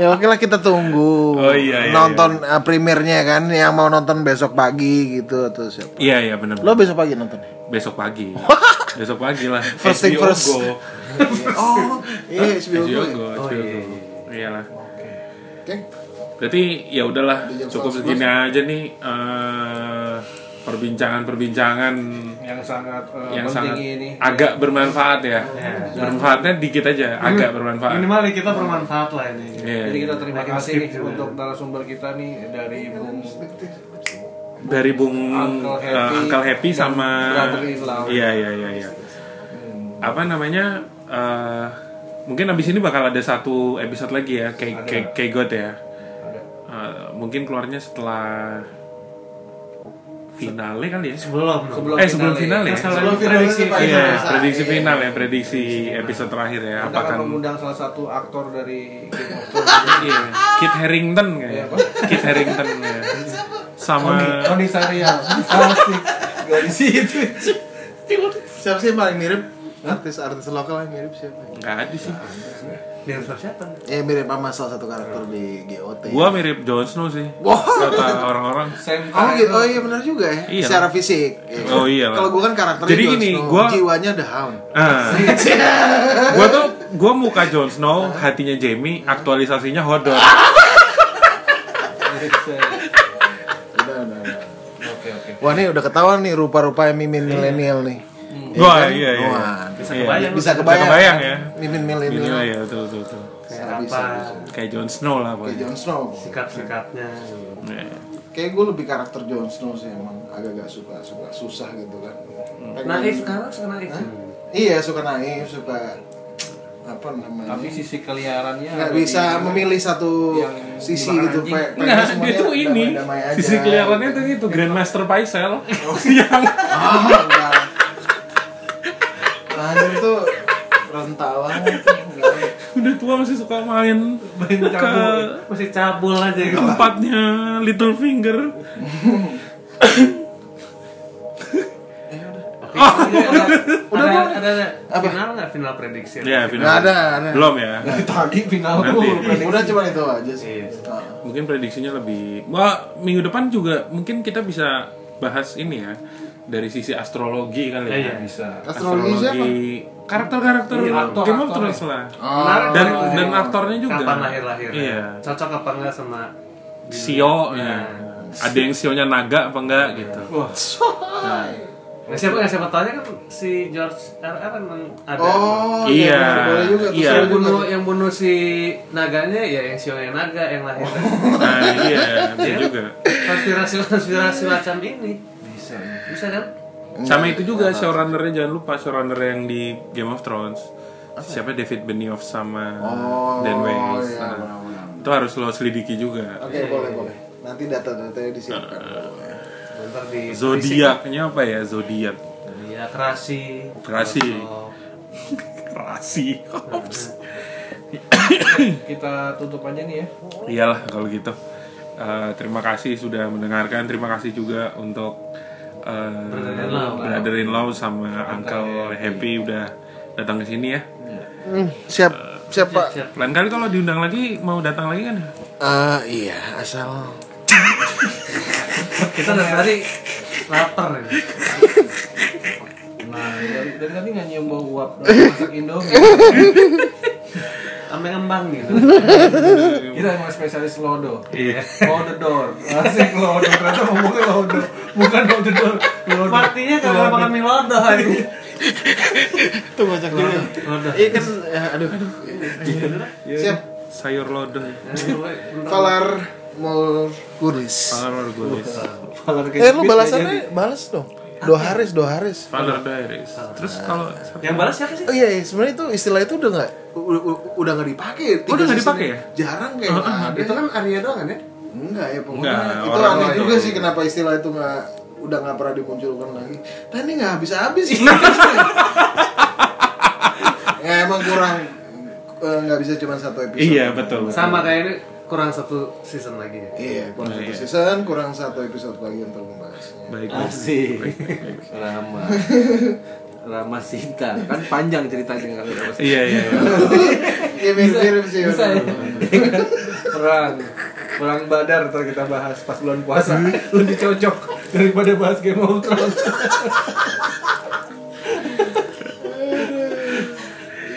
S3: Ya oke lah kita tunggu.
S1: Oh, iya, iya,
S3: nonton eh, premiernya kan yang mau nonton besok pagi gitu atau siapa.
S1: Iya iya benar.
S3: Lo besok pagi nonton.
S1: Besok
S3: (laughs)
S1: pagi. Besok pagi lah.
S3: First thing
S1: HBO Go.
S3: first. (laughs) oh, iya HBO
S1: HBO
S3: Go.
S1: Go.
S2: Oh,
S1: HBO
S2: iya,
S1: Go. Iyalah.
S3: Oke.
S1: Berarti ya udahlah cukup segini aja nih eh, perbincangan-perbincangan
S2: yang sangat eh,
S1: yang
S2: penting
S1: sangat
S2: ini. Iya.
S1: agak bermanfaat ya. Bermanfaatnya dikit
S3: Hmm.
S1: aja, agak
S2: Hmm.
S1: bermanfaat.
S5: Minimal kita bermanfaat lah ini.
S1: Iya.
S2: Jadi kita terima
S5: Makan
S2: kasih
S5: skip
S2: nih
S3: ya.
S5: juga.
S2: untuk narasumber kita nih dari Bung
S1: dari Bung
S2: Uncle
S1: eh,
S2: Happy
S1: Uncle Happy
S2: dan
S1: sama
S2: Brother in Law.
S1: Iya iya iya iya. Apa namanya? eh, mungkin abis ini bakal ada satu episode lagi ya, kayak kayak kayak God ya. Eh, mungkin keluarnya setelah finale kali ya.
S5: Sebelum.
S2: sebelum
S1: eh sebelum finale, ya.
S5: Sebelum prediksi.
S1: Iya,
S5: Iya.
S1: prediksi final ya, prediksi episode terakhir ya.
S2: Kita akan
S1: Apakah
S2: mengundang salah satu aktor dari Game of
S1: Iya, Kit Harrington kayaknya.
S2: Iya, apa?
S1: Kit Harrington ya. Sama
S2: Tony Sarial. Asik.
S5: Di situ.
S3: Siapa sih yang paling mirip? Artis-artis lokal yang mirip siapa?
S1: nggak ada sih.
S5: Dia harus siapa?
S3: Ya mirip sama salah satu karakter di GOT.
S1: Gua mirip Jon Snow sih.
S3: Wah.
S1: Kata orang-orang.
S2: Sam
S3: Oh gitu, oh
S2: Carell.
S3: iya benar juga ya.
S1: Iya.
S3: Secara fisik. Iya.
S1: Oh, iya lah.
S3: Kalau gua kan karakternya
S1: Jadi
S3: Jon
S1: gini,
S3: Snow,
S1: gua-
S3: jiwanya The Hound.
S1: Ah. gua tuh gua muka Jon Snow, hatinya Jamie, aktualisasinya Hodor.
S3: Udah, udah, udah.
S2: Oke oke.
S3: Wah ini udah ketahuan nih rupa-rupa Mimin milenial nih.
S1: Wah, iya iya.
S3: kan? Wah,
S5: Bisa
S1: Iya.
S5: kebayang.
S3: bisa
S1: Bisa
S3: kebayang,
S1: kebayang ya.
S3: kan? Mimin
S1: Ini
S3: milenial.
S1: lah ya, tuh tuh tuh.
S3: Bisa,
S5: Kayak apa?
S3: bisa.
S1: Kayak Jon Snow lah
S3: Kayak
S1: pokoknya.
S3: Jon Snow.
S5: Sikat-sikatnya.
S1: Iya.
S3: Kayak gue lebih karakter Jon Snow sih emang agak-agak suka suka susah gitu kan. Pengen-
S2: sekarang suka Hmm. naif.
S3: Hah? Iya suka naif suka apa namanya?
S2: Tapi sisi keliarannya
S3: nggak
S2: ada
S3: bisa
S2: di-
S3: memilih satu
S2: Yang
S3: sisi
S2: dimakan
S3: gitu
S2: anjing.
S3: Pak. Pengen
S1: Nah, dia
S3: semuanya
S1: tuh ini
S3: damai-damai aja.
S1: sisi kelihatannya tuh itu Grandmaster Paisel. iya.
S3: Ah, enggak. Anjir tuh rentawan tuh, enggak.
S1: (laughs) Udah tua masih suka main
S5: Main cabul. Masih cabul aja gitu.
S1: tempatnya Little Finger.
S5: Ada ada ada final nggak final prediksi?
S1: Ya,
S3: Enggak
S1: final.
S3: ada, ada.
S1: Belum ya.
S2: Tadi final
S1: Nanti.
S2: dulu.
S3: Udah cuma itu aja sih.
S5: Iya.
S3: Ah.
S1: Mungkin prediksinya lebih. Wah, minggu depan juga mungkin kita bisa bahas ini ya dari sisi astrologi kali ya.
S5: Iya,
S2: Bisa.
S3: Astrologi siapa?
S1: karakter-karakter
S2: aktor-
S1: Game of
S2: aktor
S1: Thrones lah.
S3: Ah.
S5: Menarik
S1: Dan
S5: tuh.
S1: dan aktornya juga.
S5: Oh, iya. Kapan lahir-lahir? ya?
S1: Iya.
S5: Cocok apa enggak sama
S1: Sio
S5: Nah.
S1: ya. Ada yang sionya naga apa enggak
S5: Iya.
S1: gitu.
S2: Wah.
S5: Nah, siapa nggak siapa tanya kan si George RR emang ada.
S3: Oh,
S1: Iya.
S3: bener, boleh juga
S1: Iya.
S3: tuh,
S5: Yang
S3: seru juga
S5: bunuh
S3: tuh.
S5: yang bunuh si naganya ya yang Sio yang naga yang lahir.
S1: Nah, iya, bisa juga.
S5: konspirasi konspirasi macam ini
S2: Bisa.
S5: bisa kan?
S1: Sama itu juga showrunnernya jangan lupa showrunner yang di Game of Thrones. Siapa David Benioff sama
S3: Oh,
S1: Dan Weiss.
S3: iya,
S1: Nah,
S3: benar-benar.
S1: itu harus lo selidiki juga.
S3: Oke, boleh, boleh. Nanti data-datanya disiapkan.
S5: Bentar di
S1: Zodiaknya apa ya? Zodiak.
S5: Ya kerasi.
S1: Kerasi.
S5: Cocok.
S1: Rasi. Ops.
S2: Kita tutup aja nih ya.
S1: (laughs) Iyalah kalau gitu. Eh, terima kasih sudah mendengarkan. Terima kasih juga untuk eh,
S5: Brother-in-law.
S1: brother-in-law sama Uncle Happy udah datang ke sini ya.
S3: Hmm, Siap, siap, Pak.
S5: Siap.
S1: Lain kali kalau diundang lagi mau datang lagi kan?
S3: Ah, iya, asal
S5: Kita dari tadi lapar ya. ini.
S2: Nah, dari, dari tadi nggak nyium bau uap dari masak Indomie.
S5: Ambang ambang gitu.
S2: Kita emang spesialis lodo.
S1: Iya.
S2: Low the door. Asik lodo. Ternyata ngomongnya lodo. Bukan low the door. Lodo.
S5: Partinya kalau makan mie lodo ini.
S3: Tuh kocak juga.
S5: Lodo.
S3: Iya kan, ya, aduh. Siap.
S1: Sayur lodoh.
S3: Valar Morgulis.
S1: Valor Gulis.
S2: Kalau
S3: Eh lu balasannya balas dong. Dua haris, dua haris.
S1: Valor Diaries. Terus kalau
S5: Yang balas siapa sih?
S3: Oh iya, iya. sebenarnya itu istilah itu udah nggak u- u- udah nggak dipakai. Tiga
S1: udah nggak
S3: season
S1: dipakai
S3: ini.
S1: ya? ah,
S3: Jarang kayak ada.
S5: kan Arya doang kan ya?
S3: Enggak ya pokoknya.
S1: Nggak,
S3: itu
S1: orang
S3: aneh
S1: lain.
S3: juga gitu. sih kenapa istilah itu nggak udah nggak pernah dimunculkan lagi. Nah ini nggak (laughs) habis-habis. ya emang kurang eh, nggak bisa cuma satu episode.
S1: Iya betul. betul.
S5: Sama kayak ini kurang satu season lagi ya.
S3: Iya, kurang satu season, kurang satu episode lagi untuk membahasnya.
S1: Baik.
S2: Asik. Rama. Rama Sinta. Kan panjang ceritanya kalau Rama Sinta.
S1: Iya iya. iya.
S3: Iya, mirip-mirip sih.
S2: Bisa ya.
S3: bener-bener.
S2: Perang. Perang Badar ntar kita bahas pas bulan puasa. Lebih cocok daripada bahas Game of Thrones.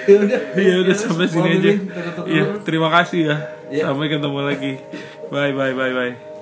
S2: ya udah.
S1: Iya udah sampai sini
S2: Mau
S1: aja.
S2: mimin, tutup dulu.
S1: Iya terima kasih ya.
S2: Iya.
S1: Sampai ketemu lagi. Bye bye bye bye.